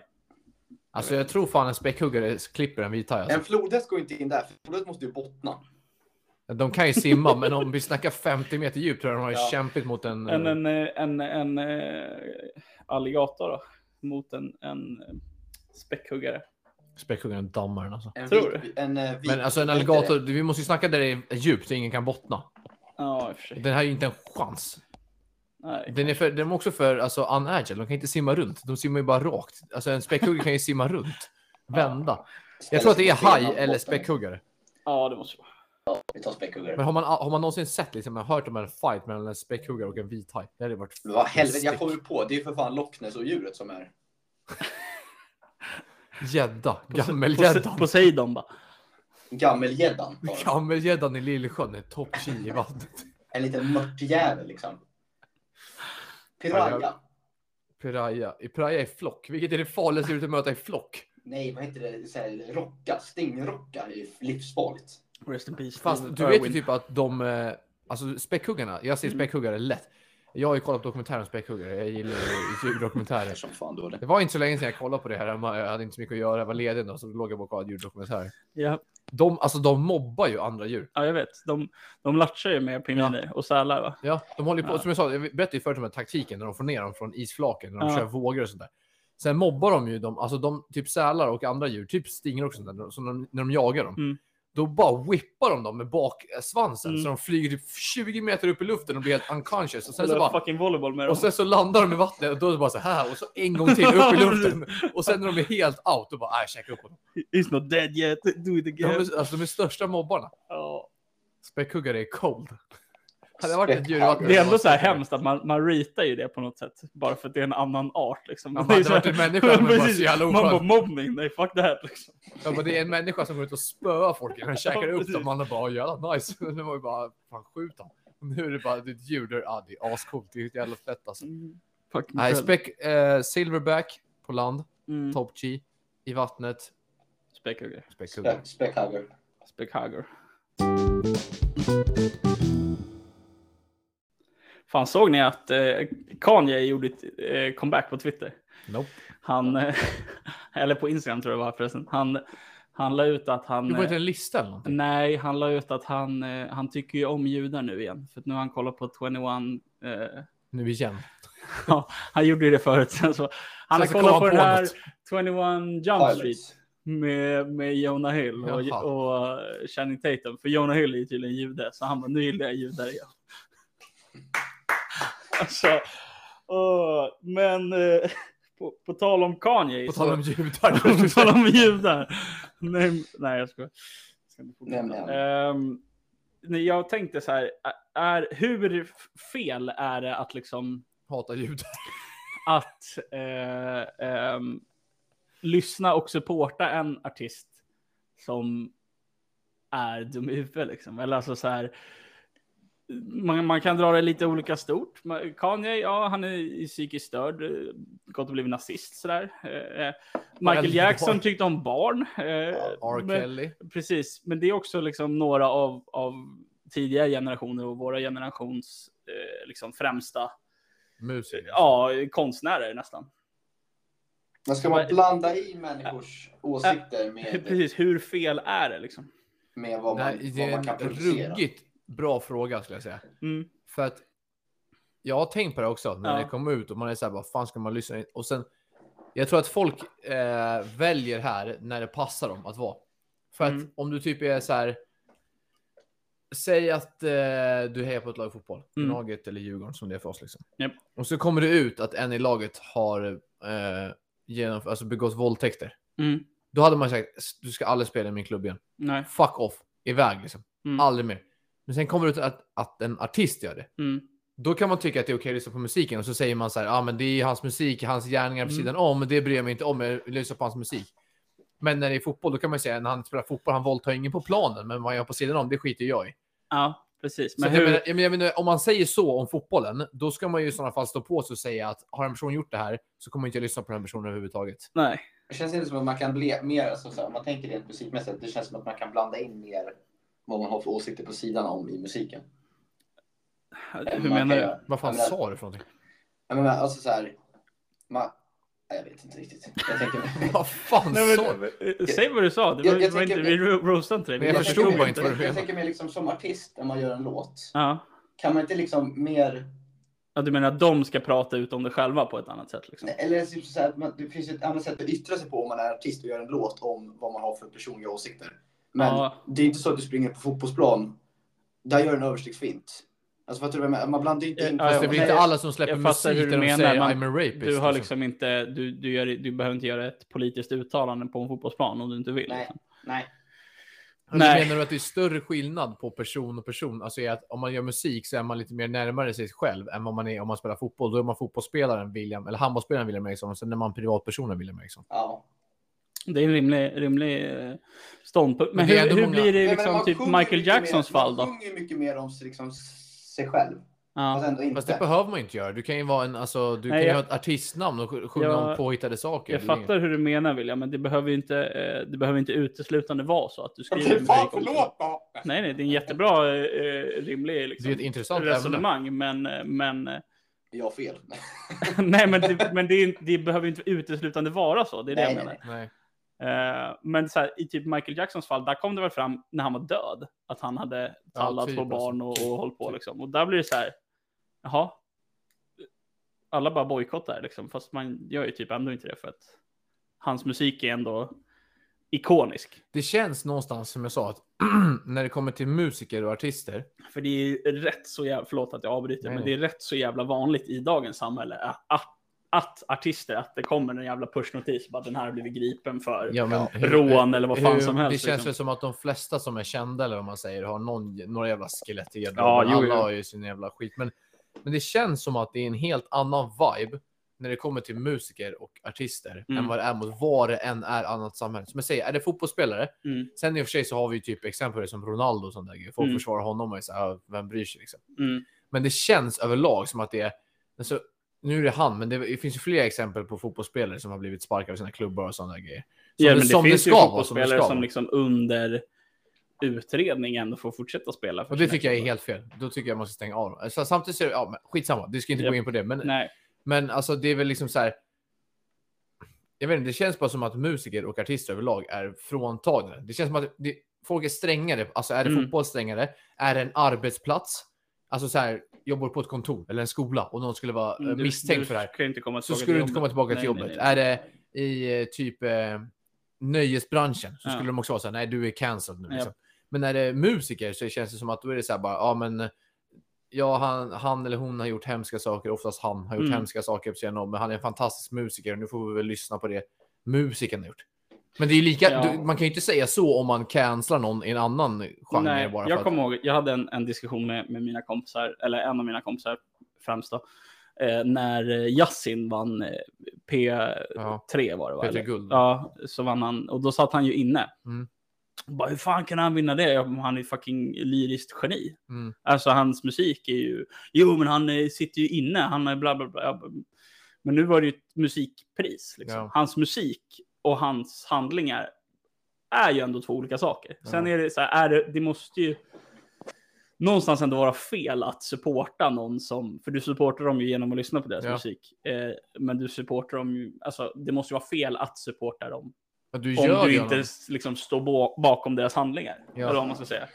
Speaker 2: Alltså jag tror fan en späckhuggare klipper en vithaj.
Speaker 3: hajar. En
Speaker 2: Alltså.
Speaker 3: flodhäst går inte in där, för flodet måste ju bottna.
Speaker 2: De kan ju simma, men om vi snackar 50 meter djup tror jag de har ju
Speaker 3: Ja.
Speaker 2: kämpat mot en...
Speaker 1: En, en, eh, en, en eh, alligator då? Mot en, en eh, späckhuggare.
Speaker 2: Späckhuggaren dammar den alltså.
Speaker 3: En
Speaker 1: Tror
Speaker 3: vit, en, eh, vit,
Speaker 2: Men alltså en
Speaker 3: vad heter
Speaker 2: alligator,
Speaker 3: det?
Speaker 2: vi måste ju snacka där det är djupt så ingen kan bottna.
Speaker 1: Ja, i och för sig.
Speaker 2: Den här är ju inte en chans.
Speaker 1: Nej.
Speaker 2: Den är, för, den är också för alltså, unagile, de kan inte simma runt. De simmar ju bara rakt. Alltså en späckhuggare kan ju simma runt. Vända. Jag tror att det är
Speaker 3: Ställer sig på
Speaker 2: haj
Speaker 3: benen
Speaker 2: eller
Speaker 3: botten.
Speaker 2: späckhuggare.
Speaker 1: Ja, det måste vara.
Speaker 3: Vi tar späckhuggare.
Speaker 2: Men har man, har man någonsin sett, liksom, hört om en fight mellan en späckhuggare och en vithaj? Det hade ju varit...
Speaker 3: Men Vad helvete, jag
Speaker 2: späck-
Speaker 3: kommer ju på. Det är ju för fan Loch Ness och djuret som är.
Speaker 2: Gädda.
Speaker 1: Pose-
Speaker 2: Gammelgäddan.
Speaker 1: Poseidon bara.
Speaker 3: Gammelgäddan. bara.
Speaker 2: Gammelgäddan i Lillsjön är topp 10 i vattnet.
Speaker 3: En liten mörtjävel liksom.
Speaker 2: Ja,
Speaker 3: Piranha.
Speaker 2: jag- Piraya. I Piraya i flock. Vilket är det farligaste djuret att möta i flock?
Speaker 3: Nej, vad heter det? Så här, rocka. Stingrocka är ju livsfarligt.
Speaker 1: Rest in peace.
Speaker 3: Mm,
Speaker 1: Steven
Speaker 2: Fast du vet ju
Speaker 1: Irwin.
Speaker 2: typ att de... eh, Alltså späckhuggarna. Jag ser
Speaker 1: Mm.
Speaker 2: späckhuggare lätt. Jag har ju kollat på dokumentärer om späckhuggare. Jag gillar ju
Speaker 3: Det är
Speaker 2: djurdokumentärer.
Speaker 3: som fan då det.
Speaker 2: Det var inte så länge sedan jag kollade på det här hemma. Jag hade inte så mycket att göra. Jag var ledig då, så då låg jag bara och kollade djurdokumentärer.
Speaker 1: Ja,
Speaker 2: De, alltså, de mobbar ju andra djur.
Speaker 1: ja, jag vet. De, de latchar ju med pingviner och sälar va?
Speaker 2: Ja, de håller ju på,
Speaker 1: Ja.
Speaker 2: som jag sa, jag berättade ju förut om den här taktiken när de får ner dem från isflaken, när de
Speaker 1: Ja.
Speaker 2: kör vågor och sånt där. Sen mobbar de ju dem, alltså de, typ sälar och andra djur, typ stinger också sånt där, så när de, när de jagar dem.
Speaker 1: Mm.
Speaker 2: Då bara whippar de dem med baksvansen
Speaker 1: Mm.
Speaker 2: så de flyger typ 20 meter upp i luften och blir helt unconscious. Och sen, så
Speaker 1: Spelar
Speaker 2: bara,
Speaker 1: fucking volleyboll med dem.
Speaker 2: och sen så landar de i vattnet och då är det bara så här och så en gång till upp i luften. Och sen när de är helt out, då bara äh, käka upp dem.
Speaker 1: He's not dead yet. Do it
Speaker 2: De
Speaker 1: again.
Speaker 2: är, alltså de är största mobbarna.
Speaker 1: Ja.
Speaker 2: Späckhuggare är cold. Hade jag varit ett djur i vattnet-
Speaker 1: Det är ändå så här hemskt att man, man ritar ju det på något sätt. Bara för att det är en annan art liksom.
Speaker 2: Ja, man
Speaker 1: Det är
Speaker 2: hade
Speaker 1: så här-
Speaker 2: varit en människa, men bara
Speaker 1: Precis.
Speaker 2: så jävla
Speaker 1: Man
Speaker 2: oskönt.
Speaker 1: bara mobbning. Nej, fuck det här liksom.
Speaker 2: Ja, men det är en människa som går ut och spöar folk. Han käkar
Speaker 1: Ja,
Speaker 2: upp
Speaker 1: precis.
Speaker 2: dem. Man är bara, "Ja, jävla nice. Nu var ju bara, fan skjut han. Och Nu är det bara, det är ett djur där, ah, det är ascoolt. Det är ett jävla fett alltså.
Speaker 1: Fuck
Speaker 2: Nej,
Speaker 1: späck.
Speaker 2: speck, eh, silverback på land,
Speaker 1: Mm.
Speaker 2: top G. I vattnet,
Speaker 1: Späckhugger.
Speaker 2: späckhugger.
Speaker 3: Späckhugger.
Speaker 1: Späckhugger. Fan, såg ni att eh, Kanye gjorde ett eh, comeback på Twitter?
Speaker 2: Nope.
Speaker 1: Han, eh, eller på Instagram tror jag det var förresten. Han, han la ut att han...
Speaker 2: Det var
Speaker 1: eh,
Speaker 2: inte en lista eller någonting.
Speaker 1: Nej, han la ut att han, eh, han tycker ju om judar nu igen. För att nu har han kollat på 21. Eh,
Speaker 2: Nu igen.
Speaker 1: ja, han gjorde ju det förut. Sen så, han har
Speaker 2: så
Speaker 1: kollat
Speaker 2: kom
Speaker 1: på,
Speaker 2: han
Speaker 1: den
Speaker 2: på
Speaker 1: här
Speaker 2: något.
Speaker 1: 21 Jump Street
Speaker 3: Pilots.
Speaker 1: med, med Jonah Hill
Speaker 2: Jaha.
Speaker 1: och, och eh, Channing Tatum. För Jonah Hill är ju tydligen jude. Så han bara, nu gillar jag judar igen. alltså, åh, men eh, på, på tal om Kanye.
Speaker 2: På
Speaker 1: så-
Speaker 2: tal om judar.
Speaker 1: på tal om judar. Nej, nej jag skojar. Jag ska inte fortsätta.
Speaker 3: Nej,
Speaker 1: Ehm, nej, jag tänkte så här, är, hur f- fel är det att liksom
Speaker 2: Hatar judar.
Speaker 1: att eh, ehm, lyssna och supporta en artist som är dum i huvudet liksom. Eller alltså så här. Man, man kan dra det lite olika stort. Man- Kanye, ja, han är psykiskt störd, eh, gått och blivit nazist sådär. Eh, eh, Michael
Speaker 2: Väldigt
Speaker 1: Jackson
Speaker 2: barn.
Speaker 1: tyckte om barn. eh,
Speaker 2: R.
Speaker 1: men-
Speaker 2: Kelly.
Speaker 1: Precis, men det är också liksom några av, av tidigare generationer och våra generations eh, liksom främsta
Speaker 2: Musiker.
Speaker 1: ja, konstnärer nästan.
Speaker 3: Men ska man blanda i människors åsikter med,
Speaker 1: Precis, hur fel är det liksom?
Speaker 3: med vad, man,
Speaker 2: Nej, det
Speaker 3: vad
Speaker 2: är
Speaker 3: man kan
Speaker 2: en
Speaker 3: producera?
Speaker 2: ruggigt bra fråga skulle jag säga.
Speaker 1: Mm.
Speaker 2: För att jag har tänkt på det också när
Speaker 1: Ja.
Speaker 2: det kom ut och man är så här, vad fan ska man lyssna in? Och sen, jag tror att folk eh, väljer här när det passar dem att vara. För
Speaker 1: Mm.
Speaker 2: att om du typ är så här, Säg att eh, du hejar på ett lag i fotboll,
Speaker 1: Mm.
Speaker 2: Gnaget eller Djurgården som det är för oss. Liksom.
Speaker 1: Japp.
Speaker 2: Och så kommer det ut att en i laget har eh, genomf- alltså begått våldtäkter.
Speaker 1: Mm.
Speaker 2: Då hade man sagt du ska aldrig spela i min klubb igen.
Speaker 1: Nej.
Speaker 2: Fuck off, iväg liksom.
Speaker 1: Mm.
Speaker 2: Aldrig mer. Men sen kommer det ut att, att en artist gör det.
Speaker 1: Mm.
Speaker 2: Då kan man tycka att det är okej att lyssna på musiken och så säger man så här, ja ah, men det är hans musik, hans gärningar på
Speaker 1: Mm.
Speaker 2: sidan om, det bryr jag mig inte om, jag lyssnar på hans musik. Men när det är fotboll, då kan man ju säga när han spelar fotboll, han våldtar ingen på planen, men vad han gör på sidan om, det skiter ju jag i.
Speaker 1: Ja, precis.
Speaker 2: Så
Speaker 1: Men
Speaker 2: att jag,
Speaker 1: hur...
Speaker 2: menar, jag, menar, jag menar, om man säger så om fotbollen, då ska man ju i sådana fall stå på sig och säga att har en person gjort det här så kommer inte jag lyssna på den personen överhuvudtaget.
Speaker 1: Nej.
Speaker 3: Det känns inte som att man kan bli mer, alltså, så här, om man tänker rent musikmässigt, det känns som att man kan blanda in mer vad man har för åsikter på sidan om i musiken. Än
Speaker 1: Hur
Speaker 3: man kan
Speaker 1: menar du?
Speaker 3: göra.
Speaker 2: Vad fan
Speaker 3: Jag menar-
Speaker 2: sa du för någonting?
Speaker 3: Jag menar, alltså så här, man, nej, jag vet inte riktigt. Jag tänker,
Speaker 2: Vad fan
Speaker 1: Nej,
Speaker 2: sa du?
Speaker 1: men, eh, säg vad du sa. Det var,
Speaker 3: Jag- jag
Speaker 1: det var inte,
Speaker 3: tänker-
Speaker 1: vi ro- roastade inte dig.
Speaker 2: Men jag
Speaker 1: Vi
Speaker 2: förstod
Speaker 1: roastade
Speaker 2: bara
Speaker 3: tänker-
Speaker 2: inte vad du menar.
Speaker 3: Jag tänker mer liksom som artist när man gör en låt.
Speaker 1: Ja.
Speaker 3: Kan man inte liksom mer,
Speaker 1: ja, du menar att de ska prata ut om det själva på ett annat sätt? Liksom.
Speaker 3: eller typ så här, man, det finns ju ett annat sätt att yttra sig på om man är artist och gör en låt om vad man har för personliga åsikter. Men
Speaker 1: Ja.
Speaker 3: det är inte så att du springer på fotbollsplan, där gör du en överstegsfint. Alltså fattar du vad jag menar? Man blandar ju inte in...
Speaker 1: Eh, Ja, ja,
Speaker 2: Fast det blir
Speaker 1: men
Speaker 2: inte
Speaker 1: jag-
Speaker 2: alla som släpper
Speaker 1: jag fattar hur du
Speaker 2: musik där de
Speaker 1: menar,
Speaker 2: säger
Speaker 1: man-
Speaker 2: I'm a rapist.
Speaker 1: Du, har liksom inte, du, du, gör, du behöver inte göra ett politiskt uttalande på en fotbollsplan om du inte vill.
Speaker 3: Nej,
Speaker 1: liksom.
Speaker 3: nej.
Speaker 2: Men
Speaker 1: Nej.
Speaker 2: Menar du att det är större skillnad på person och person? Alltså är att om man gör musik så är man lite mer närmare sig själv än vad man är om man spelar fotboll. Då är man fotbollsspelaren William, eller handbollsspelaren William Eriksson och sen är man privatpersonen William Eriksson.
Speaker 3: Ja.
Speaker 1: Det är en rimlig, rimlig eh, ståndpunkt. Men,
Speaker 2: Men det är
Speaker 1: hur,
Speaker 2: ändå
Speaker 1: hur
Speaker 2: många-
Speaker 1: blir det i
Speaker 3: Nej, men
Speaker 1: liksom,
Speaker 3: man
Speaker 1: typ
Speaker 3: sjunger
Speaker 1: Michael
Speaker 3: mycket
Speaker 1: Jacksons
Speaker 3: mer,
Speaker 1: fall då?
Speaker 3: Man sjunger Alltså, ju mycket mer om liksom, sig själv.
Speaker 1: Ja.
Speaker 3: Fast ändå inte.
Speaker 2: Fast det behöver man ju inte göra. Du kan ju vara en, alltså, du
Speaker 1: Nej,
Speaker 2: kan ju
Speaker 1: jag-
Speaker 2: ha ett artistnamn och sj- sjunga
Speaker 1: Jag-
Speaker 2: om påhittade saker.
Speaker 1: Jag
Speaker 2: Det är inget-
Speaker 1: fattar hur du menar William, men det behöver ju inte, eh, det behöver inte uteslutande vara så att du skriver
Speaker 3: Okej, Alltså, fan
Speaker 1: musik om-
Speaker 3: förlåt då!
Speaker 1: Nej, nej, det är en jättebra, eh, eh, rimlig
Speaker 2: Det är ett
Speaker 1: liksom,
Speaker 2: intressant ämne.
Speaker 1: resonemang, men, men eh,
Speaker 3: Jag har fel.
Speaker 1: nej, men, det, men det, är, inte- det behöver ju inte uteslutande vara så. Det är det
Speaker 3: Nej,
Speaker 1: jag
Speaker 3: nej,
Speaker 1: menar.
Speaker 2: Nej.
Speaker 1: Eh, men så här, i typ Michael Jacksons fall, där kom det väl fram när han var död att han hade
Speaker 2: Ja,
Speaker 1: tallat
Speaker 2: typ
Speaker 1: på
Speaker 2: alltså.
Speaker 1: barn och, och hållit på
Speaker 2: Typ.
Speaker 1: liksom. Och där blir det så här, jaha. Alla bara bojkottar liksom, fast man gör ju typ ändå inte det för att hans musik är ändå ikonisk.
Speaker 2: Det känns någonstans som jag sa att när det kommer till musiker och artister.
Speaker 1: För det är rätt så jävla, förlåt att jag avbryter,
Speaker 2: Nej,
Speaker 1: men
Speaker 2: nej.
Speaker 1: det är rätt så jävla vanligt i dagens samhälle att, att, att artister, att det kommer en jävla pushnotis, bara den här har blivit gripen för
Speaker 2: Ja, men hur-
Speaker 1: rån eller vad fan
Speaker 2: Hur-
Speaker 1: som helst.
Speaker 2: Det känns
Speaker 1: liksom.
Speaker 2: väl som att de flesta som är kända eller vad man säger har någon, några jävla skelett i
Speaker 1: Ja,
Speaker 2: garderoben.
Speaker 1: jo,
Speaker 2: Alla
Speaker 1: jo.
Speaker 2: har ju sin jävla skit. Men, men det känns som att det är en helt annan vibe när det kommer till musiker och artister
Speaker 1: Mm.
Speaker 2: än vad det är mot vad det än är annat samhälle. Som jag säger, är det fotbollsspelare?
Speaker 1: Mm.
Speaker 2: Sen i och för sig så har vi ju typ exempel som Ronaldo och sånt där. grejer. Folk
Speaker 1: Mm.
Speaker 2: försvarar honom och är så här, "Ah, vem bryr sig liksom?
Speaker 1: Mm.
Speaker 2: Men det känns överlag som att det är, alltså, nu är det han, men det, det finns ju fler exempel på fotbollsspelare som har blivit sparkade av sina klubbar och sådana där grejer. Som
Speaker 1: ja,
Speaker 2: det-
Speaker 1: men det
Speaker 2: som det
Speaker 1: finns
Speaker 2: ska
Speaker 1: ju
Speaker 2: vara, som det
Speaker 1: fotbollsspelare
Speaker 2: ska
Speaker 1: som,
Speaker 2: vara.
Speaker 1: liksom under utredning ändå får fortsätta spela. för
Speaker 2: Och det
Speaker 1: sina
Speaker 2: tycker jag är
Speaker 1: klubbar.
Speaker 2: helt fel. Då tycker jag man ska stänga av dem. Alltså, samtidigt så är det, ja, men skitsamma, du ska inte
Speaker 1: Japp.
Speaker 2: gå in på det. Men,
Speaker 1: Nej,
Speaker 2: men alltså det är väl liksom så här. Jag vet inte, det känns bara som att musiker och artister överlag är fråntagna. Det känns som att det, folk är strängare. Alltså är det
Speaker 1: Mm.
Speaker 2: fotboll strängare? Är det en arbetsplats? Alltså så här, jobbar du på ett kontor eller en skola och någon skulle vara eh,
Speaker 1: Mm, du-
Speaker 2: misstänkt
Speaker 1: du
Speaker 2: för det här.
Speaker 1: ska ju inte komma
Speaker 2: Så
Speaker 1: tillbaka
Speaker 2: skulle du
Speaker 1: till
Speaker 2: inte
Speaker 1: jobbet.
Speaker 2: komma tillbaka
Speaker 1: Nej,
Speaker 2: till jobbet.
Speaker 1: nej, nej.
Speaker 2: Är det i eh, typ eh, nöjesbranschen så
Speaker 1: Ja.
Speaker 2: skulle de också vara så här, nej du är cancelled nu.
Speaker 1: Ja.
Speaker 2: Liksom. Men när det är musiker så känns det som att då är det så här bara, ja men ja, han, han eller hon har gjort hemska saker, oftast han har gjort
Speaker 1: Mm.
Speaker 2: hemska saker på scenen, men han är en fantastisk musiker och nu får vi väl lyssna på det musikern har gjort. Men det är ju lika,
Speaker 1: Ja.
Speaker 2: du, man kan ju inte säga så om man cancelar någon i en annan genre
Speaker 1: Nej,
Speaker 2: bara.
Speaker 1: jag
Speaker 2: för att,
Speaker 1: kommer ihåg, jag hade en, en diskussion med, med mina kompisar, eller en av mina kompisar främst då, eh, när eh, Yasin vann eh, P3
Speaker 2: ja,
Speaker 1: var det va?
Speaker 2: Peter
Speaker 1: eller?
Speaker 2: Guld.
Speaker 1: Ja, så vann han, och då satt han ju inne.
Speaker 2: Mm.
Speaker 1: Bara, hur fan kan han vinna det? Jag bara, Han är ju fucking lyriskt geni.
Speaker 2: Mm.
Speaker 1: Alltså hans musik är ju, jo men han eh, sitter ju inne, han är bla bla bla. Jag bara, Men nu var det ju ett musikpris. Liksom.
Speaker 2: Ja.
Speaker 1: Hans musik och hans handlingar är ju ändå två olika saker. Sen
Speaker 2: Ja.
Speaker 1: är det så här, är det, det måste ju någonstans ändå vara fel att supporta någon som, för du supportar dem ju genom att lyssna på deras
Speaker 2: Ja.
Speaker 1: musik. Eh, men du supportar dem ju, alltså det måste ju vara fel att supporta dem.
Speaker 2: Men du
Speaker 1: Om
Speaker 2: gör
Speaker 1: du
Speaker 2: ju
Speaker 1: inte
Speaker 2: honom.
Speaker 1: s- liksom står bo- bakom deras handlingar.
Speaker 2: Ja.
Speaker 1: Eller vad man ska säga.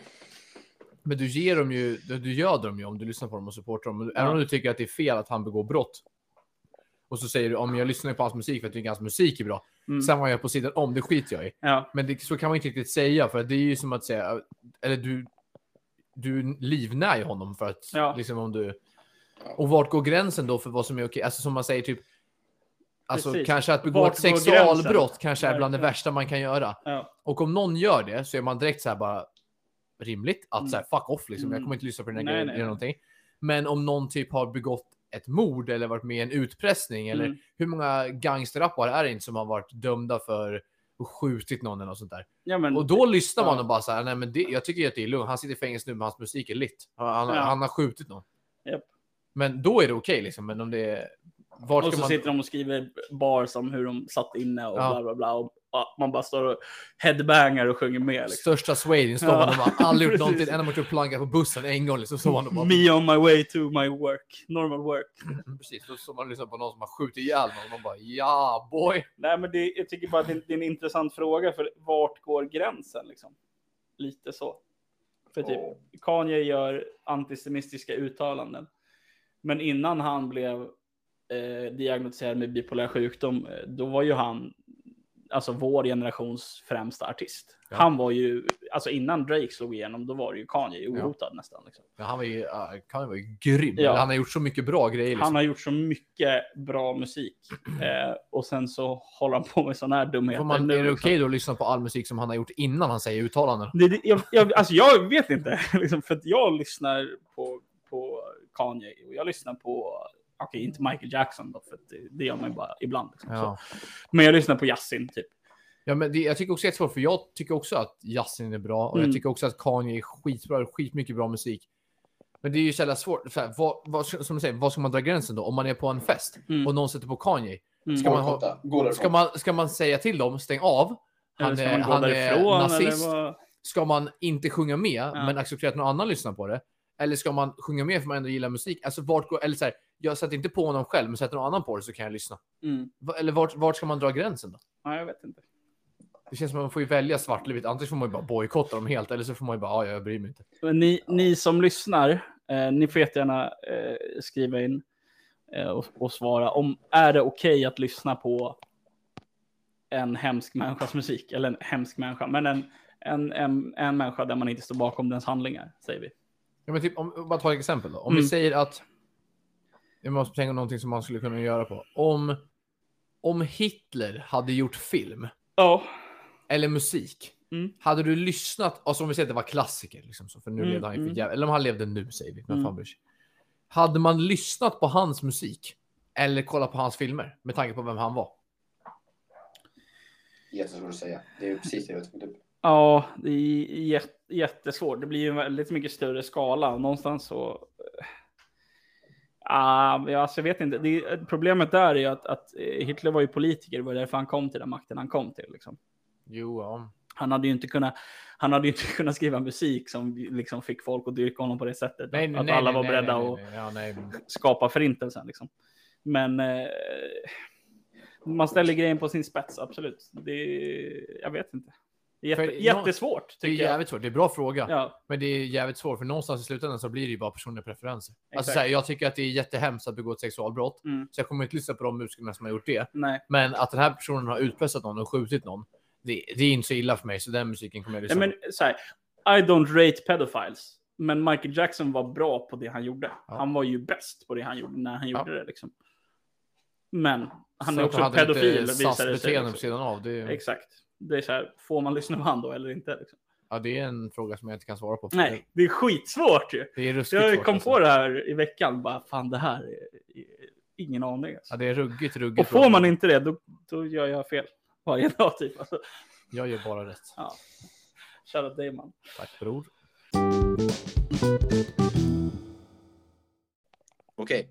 Speaker 2: Men du ger dem ju, du du göder dem ju om du lyssnar på dem och supportar dem. Även
Speaker 1: Ja.
Speaker 2: om du tycker att det är fel att han begår brott. Och så säger du, om jag lyssnar på hans musik för att jag tycker hans musik är bra.
Speaker 1: Mm.
Speaker 2: Sen vad jag gör på sidan om, det skiter jag i.
Speaker 1: Ja.
Speaker 2: Men det, så kan man inte riktigt säga, för att det är ju som att säga, eller du, du livnär ju honom för att
Speaker 1: Ja.
Speaker 2: liksom om du.
Speaker 3: Ja.
Speaker 2: Och vart går gränsen då för vad som är okej? Alltså som man säger typ. Alltså
Speaker 1: Precis.
Speaker 2: kanske att begå
Speaker 1: Vart
Speaker 2: ett
Speaker 1: går gränsen?
Speaker 2: sexualbrott kanske är bland det
Speaker 1: Verkligen.
Speaker 2: värsta man kan göra.
Speaker 1: Ja.
Speaker 2: Och om någon gör det så är man direkt så här bara rimligt att så här fuck off liksom. Jag
Speaker 1: Mm.
Speaker 2: kommer inte lyssna på den här
Speaker 1: Nej,
Speaker 2: grejen
Speaker 1: nej,
Speaker 2: eller
Speaker 1: nej.
Speaker 2: någonting. Men om någon typ har begått ett mord eller varit med i en utpressning eller
Speaker 1: Mm.
Speaker 2: hur många gangsterrappare är det inte som har varit dömda för och skjutit någon eller något sånt där.
Speaker 1: Ja, men,
Speaker 2: Och då lyssnar man
Speaker 1: Mm. Ja.
Speaker 2: och bara så här, nej men det, jag tycker att det är lugnt. Han sitter i fängelse nu, men hans musik är lit. Han,
Speaker 1: Ja.
Speaker 2: han har skjutit någon.
Speaker 1: Japp.
Speaker 2: Men då är det okej liksom. Men om det är... Vart
Speaker 1: och
Speaker 2: ska
Speaker 1: så
Speaker 2: man...
Speaker 1: sitter de och skriver bars om hur de satt inne och
Speaker 2: Ja.
Speaker 1: bla bla bla. Och ja, man bara står och headbangar och sjunger med. Liksom.
Speaker 2: Största Sweden-stolen,
Speaker 1: Ja.
Speaker 2: de har aldrig
Speaker 1: Precis.
Speaker 2: gjort någonting. En av dem planka på bussen en gång liksom. Så var de bara... Mm,
Speaker 1: Me on my way to my work, normal work.
Speaker 2: Precis, då står man och lyssnar på någon som har skjutit ihjäl någon. Och man bara ja boy.
Speaker 1: Nej, men det, jag tycker bara att det, det är en intressant fråga, för vart går gränsen liksom? Lite så. För typ, Kanye gör antisemitiska uttalanden. Men innan han blev eh, diagnostiserad med bipolär sjukdom, eh, då var ju han alltså vår generations främsta artist.
Speaker 2: Ja.
Speaker 1: Han var ju, alltså innan Drake slog igenom, då var det ju Kanye, ohotad nästan. Liksom.
Speaker 2: Men han var ju, uh, kan var ju grym.
Speaker 1: Ja.
Speaker 2: Han har gjort så mycket bra grejer. Liksom.
Speaker 1: Han har gjort så mycket bra musik eh, och sen så håller han på med sådana här dumheter.
Speaker 2: Får man,
Speaker 1: nu,
Speaker 2: är det okej
Speaker 1: liksom.
Speaker 2: då att lyssna på all musik som han har gjort innan han säger uttalanden?
Speaker 1: Det, det, jag, jag, alltså jag vet inte, liksom, för att jag lyssnar på, på Kanye och jag lyssnar på, okej inte Michael Jackson då, för att det, det gör man ju bara ibland. Liksom, så.
Speaker 2: Ja.
Speaker 1: Men jag lyssnar på Yasin typ.
Speaker 2: Ja, men det, jag tycker också det är svårt, för jag tycker också att Yasin är bra och jag
Speaker 1: Mm.
Speaker 2: tycker också att Kanye är skitbra, skitmycket bra musik. Men det är ju så jävla svårt. Så här, vad, vad, ska- som du säger, vad ska man dra gränsen då? Om man är på en fest
Speaker 1: Mm.
Speaker 2: och någon sätter på Kanye,
Speaker 1: Mm.
Speaker 2: ska man ha-
Speaker 3: Gå därifrån.
Speaker 2: ska man, ska man säga till dem stäng av? Han
Speaker 1: Eller ska
Speaker 2: är,
Speaker 1: man gå
Speaker 2: han är
Speaker 1: därifrån?
Speaker 2: nazist.
Speaker 1: Eller vad?
Speaker 2: Ska man inte sjunga med, men acceptera att någon annan lyssnar på det? Eller ska man sjunga med för man ändå gillar musik? Alltså vart går, eller så här, jag sätter inte på honom själv, men sätter någon annan på det så kan jag lyssna.
Speaker 1: Mm.
Speaker 2: Va- Eller vart, vart ska man dra gränsen då?
Speaker 1: Nej, jag vet inte.
Speaker 2: Det känns som att man får ju välja svart eller vitt. Antingen får man ju bara bojkotta dem helt eller så får man ju bara, "Ah, ja, jag bryr mig inte.
Speaker 1: Men ni, ni som lyssnar, eh, ni får jättegärna eh, skriva in eh, och, och svara om är det okej att lyssna på en hemsk människas musik eller en hemsk människa, men en, en, en, en människa där man inte står bakom dens handlingar, säger vi.
Speaker 2: Ja, men typ, om, om bara ta ett exempel då. Om vi
Speaker 1: Mm.
Speaker 2: säger att, jag måste tänka på någonting som man skulle kunna göra på. Om, om Hitler hade gjort film
Speaker 1: Ja,
Speaker 2: eller musik,
Speaker 1: Mm.
Speaker 2: hade du lyssnat, alltså om vi säger att det var klassiker, liksom, så, för nu
Speaker 1: Mm,
Speaker 2: levde han ju för
Speaker 1: mm.
Speaker 2: jävla, eller om han levde nu säger vi, men
Speaker 1: Mm.
Speaker 2: fan bryr sig. Hade man lyssnat på hans musik eller kollat på hans filmer med tanke på vem han var?
Speaker 3: Jättesvårt att säga. Det är ju precis det jag tänkte på.
Speaker 1: ja det är jät, jättesvårt. Det blir ju en väldigt mycket större skala och någonstans så. eh, Ah, ja, alltså jag vet inte. Det, är- problemet där är ju att, att eh, Hitler var ju politiker. Det var därför han kom till den makten han kom till. Liksom.
Speaker 2: Jo, ja.
Speaker 1: Han hade ju inte kunnat, han hade ju inte kunnat skriva musik som liksom fick folk att dyrka honom på det sättet. att att alla var beredda att
Speaker 2: nej, ja, nej.
Speaker 1: skapa förintelsen. Liksom. Men eh, man ställer grejen på sin spets, absolut. Det, jag vet inte. Det är
Speaker 2: För
Speaker 1: Jätte,
Speaker 2: nå-
Speaker 1: jättesvårt,
Speaker 2: Det är
Speaker 1: tycker jag.
Speaker 2: jävligt svårt. Det är en bra fråga,
Speaker 1: Ja,
Speaker 2: men det är jävligt svårt för någonstans i slutändan så blir det ju bara personliga preferenser. Alltså,
Speaker 1: Exakt.
Speaker 2: så här, jag tycker att det är jättehemskt att begå ett sexualbrott,
Speaker 1: Mm.
Speaker 2: så jag kommer inte lyssna på de musikerna som har gjort det.
Speaker 1: nej.
Speaker 2: Men att den här personen har utpressat någon och skjutit någon, det, det är inte så illa för mig, så den musiken kommer jag
Speaker 1: nej
Speaker 2: lyssna
Speaker 1: men
Speaker 2: på.
Speaker 1: så här, I don't rate pedophiles. Men Michael Jackson var bra på det han gjorde.
Speaker 2: Ja.
Speaker 1: Han var ju bäst på det han gjorde när han
Speaker 2: Ja.
Speaker 1: gjorde det. Liksom. Men han
Speaker 2: Sen
Speaker 1: är
Speaker 2: att
Speaker 1: också
Speaker 2: hade lite
Speaker 1: pedofil, visar det sig. liksom.
Speaker 2: SAS-beteende på
Speaker 1: också.
Speaker 2: sidan av. Det, är-
Speaker 1: Exakt. Det är så här, får man lyssna på han då eller inte? Liksom?
Speaker 2: ja, det är en fråga som jag inte kan svara på. för
Speaker 1: Nej, det är skitsvårt ju.
Speaker 2: Det, det är ruskigt
Speaker 1: Jag
Speaker 2: svårt,
Speaker 1: kom
Speaker 2: alltså.
Speaker 1: på det här i veckan, bara fan det här, är, är, ingen aning. Alltså.
Speaker 2: Ja, det är ruggigt, ruggigt.
Speaker 1: Och får
Speaker 2: fråga.
Speaker 1: man inte det, då, då gör jag fel varje dag typ. Alltså,
Speaker 2: Jag gör bara rätt.
Speaker 1: ja. Shoutout dig man.
Speaker 2: Tack bror.
Speaker 3: Okej.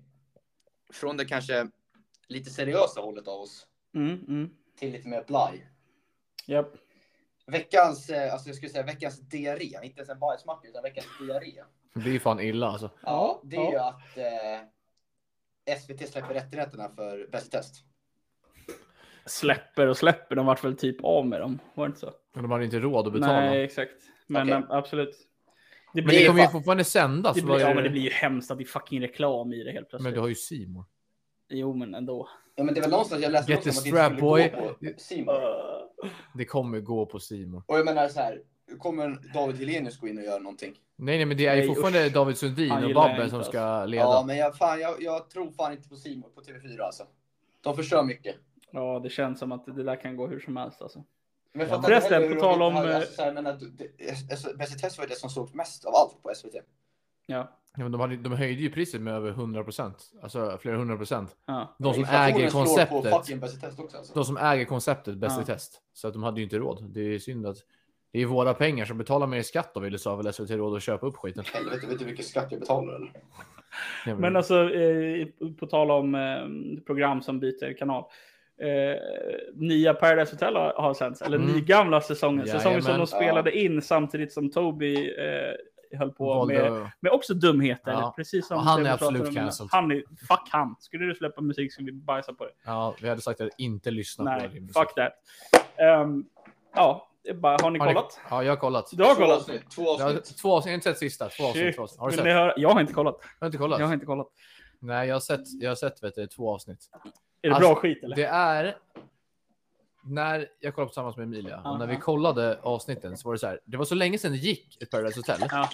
Speaker 3: Från det kanske lite seriösa hållet av oss
Speaker 1: Mm, mm.
Speaker 3: till lite mer blaj.
Speaker 1: Japp.
Speaker 3: Veckans, eh, alltså jag skulle säga veckans diarré. Inte ens en bajsmacka utan veckans diarré.
Speaker 2: Det blir fan illa alltså.
Speaker 3: Ja, det är ju
Speaker 1: ja.
Speaker 3: att eh, SVT släpper rättigheterna för Bäst test.
Speaker 1: Släpper och släpper, de vart väl typ av med dem, var det inte så?
Speaker 2: Men de har inte råd att betala.
Speaker 1: Nej, exakt. Men
Speaker 3: Okej.
Speaker 1: äm, absolut. Det
Speaker 2: Men det
Speaker 1: blir,
Speaker 2: kommer ju
Speaker 3: fan-
Speaker 2: fortfarande sändas.
Speaker 1: det
Speaker 2: vad
Speaker 1: blir,
Speaker 2: är
Speaker 1: ja, men det blir ju hemskt att det är fucking reklam i det helt plötsligt.
Speaker 2: men du har ju Simon.
Speaker 1: Jo, men ändå.
Speaker 3: Ja, men det var någonstans jag läste
Speaker 2: Get
Speaker 3: också
Speaker 2: the
Speaker 3: om att det inte
Speaker 2: strap,
Speaker 3: skulle gå på
Speaker 2: boy.
Speaker 3: C More.
Speaker 2: Det kommer gå på Simon.
Speaker 3: Och jag menar så här, kommer David Hellenius gå in och göra någonting.
Speaker 2: Nej, nej, men det är ju
Speaker 1: Nej,
Speaker 2: fortfarande
Speaker 1: usch.
Speaker 2: David Sundin
Speaker 1: Han
Speaker 2: och
Speaker 1: gillar jag
Speaker 2: Babben
Speaker 1: inte,
Speaker 2: som ska
Speaker 1: alltså.
Speaker 2: leda.
Speaker 3: Ja, men jag, fan, jag, jag tror fan inte på Simon på TV4 alltså. De förstör mycket.
Speaker 1: Ja, det känns som att det där kan gå hur som helst alltså.
Speaker 3: Men
Speaker 2: Ja.
Speaker 3: fattar
Speaker 1: Förresten,
Speaker 3: inte heller
Speaker 1: på
Speaker 3: hur de
Speaker 1: tal
Speaker 3: inte
Speaker 1: om,
Speaker 3: hade-
Speaker 1: eh,
Speaker 3: Alltså, så här, jag menar, du- det- alltså, Bäst i test var ju det som sågs mest av allt på SVT.
Speaker 1: Ja,
Speaker 2: Ja, men de, hade, de höjde ju priset med över 100 procent. Alltså flera hundra procent.
Speaker 1: ja.
Speaker 2: De som
Speaker 3: Inflationen
Speaker 2: äger
Speaker 3: slår
Speaker 2: konceptet.
Speaker 3: på fucking Bäst i test också alltså.
Speaker 2: De som äger konceptet Bäst
Speaker 1: Ja.
Speaker 2: i test. Så att de hade ju inte råd. Det är ju synd att det är våra pengar som betalar mer i skatt om vi sa väl SVT råd att köpa upp skiten.
Speaker 3: Helvete, vet du vilken skatt jag betalar eller?
Speaker 2: Nej,
Speaker 1: Men alltså, eh, på tal om eh, program som byter kanal. Eh, nya Paradise Hotel har, har sänts, eller
Speaker 2: Mm.
Speaker 1: nygamla säsongen. Säsongen som
Speaker 2: Jajamän.
Speaker 1: de spelade in samtidigt som Toby eh, höll på
Speaker 2: valde-
Speaker 1: med, med också dumheter.
Speaker 2: Ja.
Speaker 1: Precis som
Speaker 2: Och han är
Speaker 1: det vi
Speaker 2: absolut
Speaker 1: pratade om innan.
Speaker 2: cancelled.
Speaker 1: Han är, fuck han. Skulle du släppa musik skulle vi bajsa på det.
Speaker 2: Ja, vi hade sagt att inte lyssna på
Speaker 1: Nej,
Speaker 2: din musik.
Speaker 1: fuck that. Ehm, ja, det är bara, har ni
Speaker 2: Har ni-
Speaker 1: kollat?
Speaker 2: Ja, jag har kollat.
Speaker 1: Du har
Speaker 3: Två
Speaker 1: kollat?
Speaker 3: avsnitt. Två
Speaker 2: Jag har,
Speaker 3: avsnitt.
Speaker 2: två avsnitt, jag har inte sett sista. Två avsnitt,
Speaker 1: Shit.
Speaker 2: två avsnitt. Har du
Speaker 1: Vill
Speaker 2: sett?
Speaker 1: ni
Speaker 2: Jag
Speaker 1: höra? Jag har inte kollat.
Speaker 2: har inte kollat.
Speaker 1: Jag har inte kollat.
Speaker 2: Nej, jag har sett, jag har sett vet du, två avsnitt.
Speaker 1: Är det
Speaker 2: Alltså,
Speaker 1: bra skit eller?
Speaker 2: Det är... När jag kollade tillsammans med Emilia och när vi
Speaker 1: Aha.
Speaker 2: kollade avsnitten så var det så här. Det var så länge sedan det gick ett Paradise Hotel.
Speaker 1: Ja.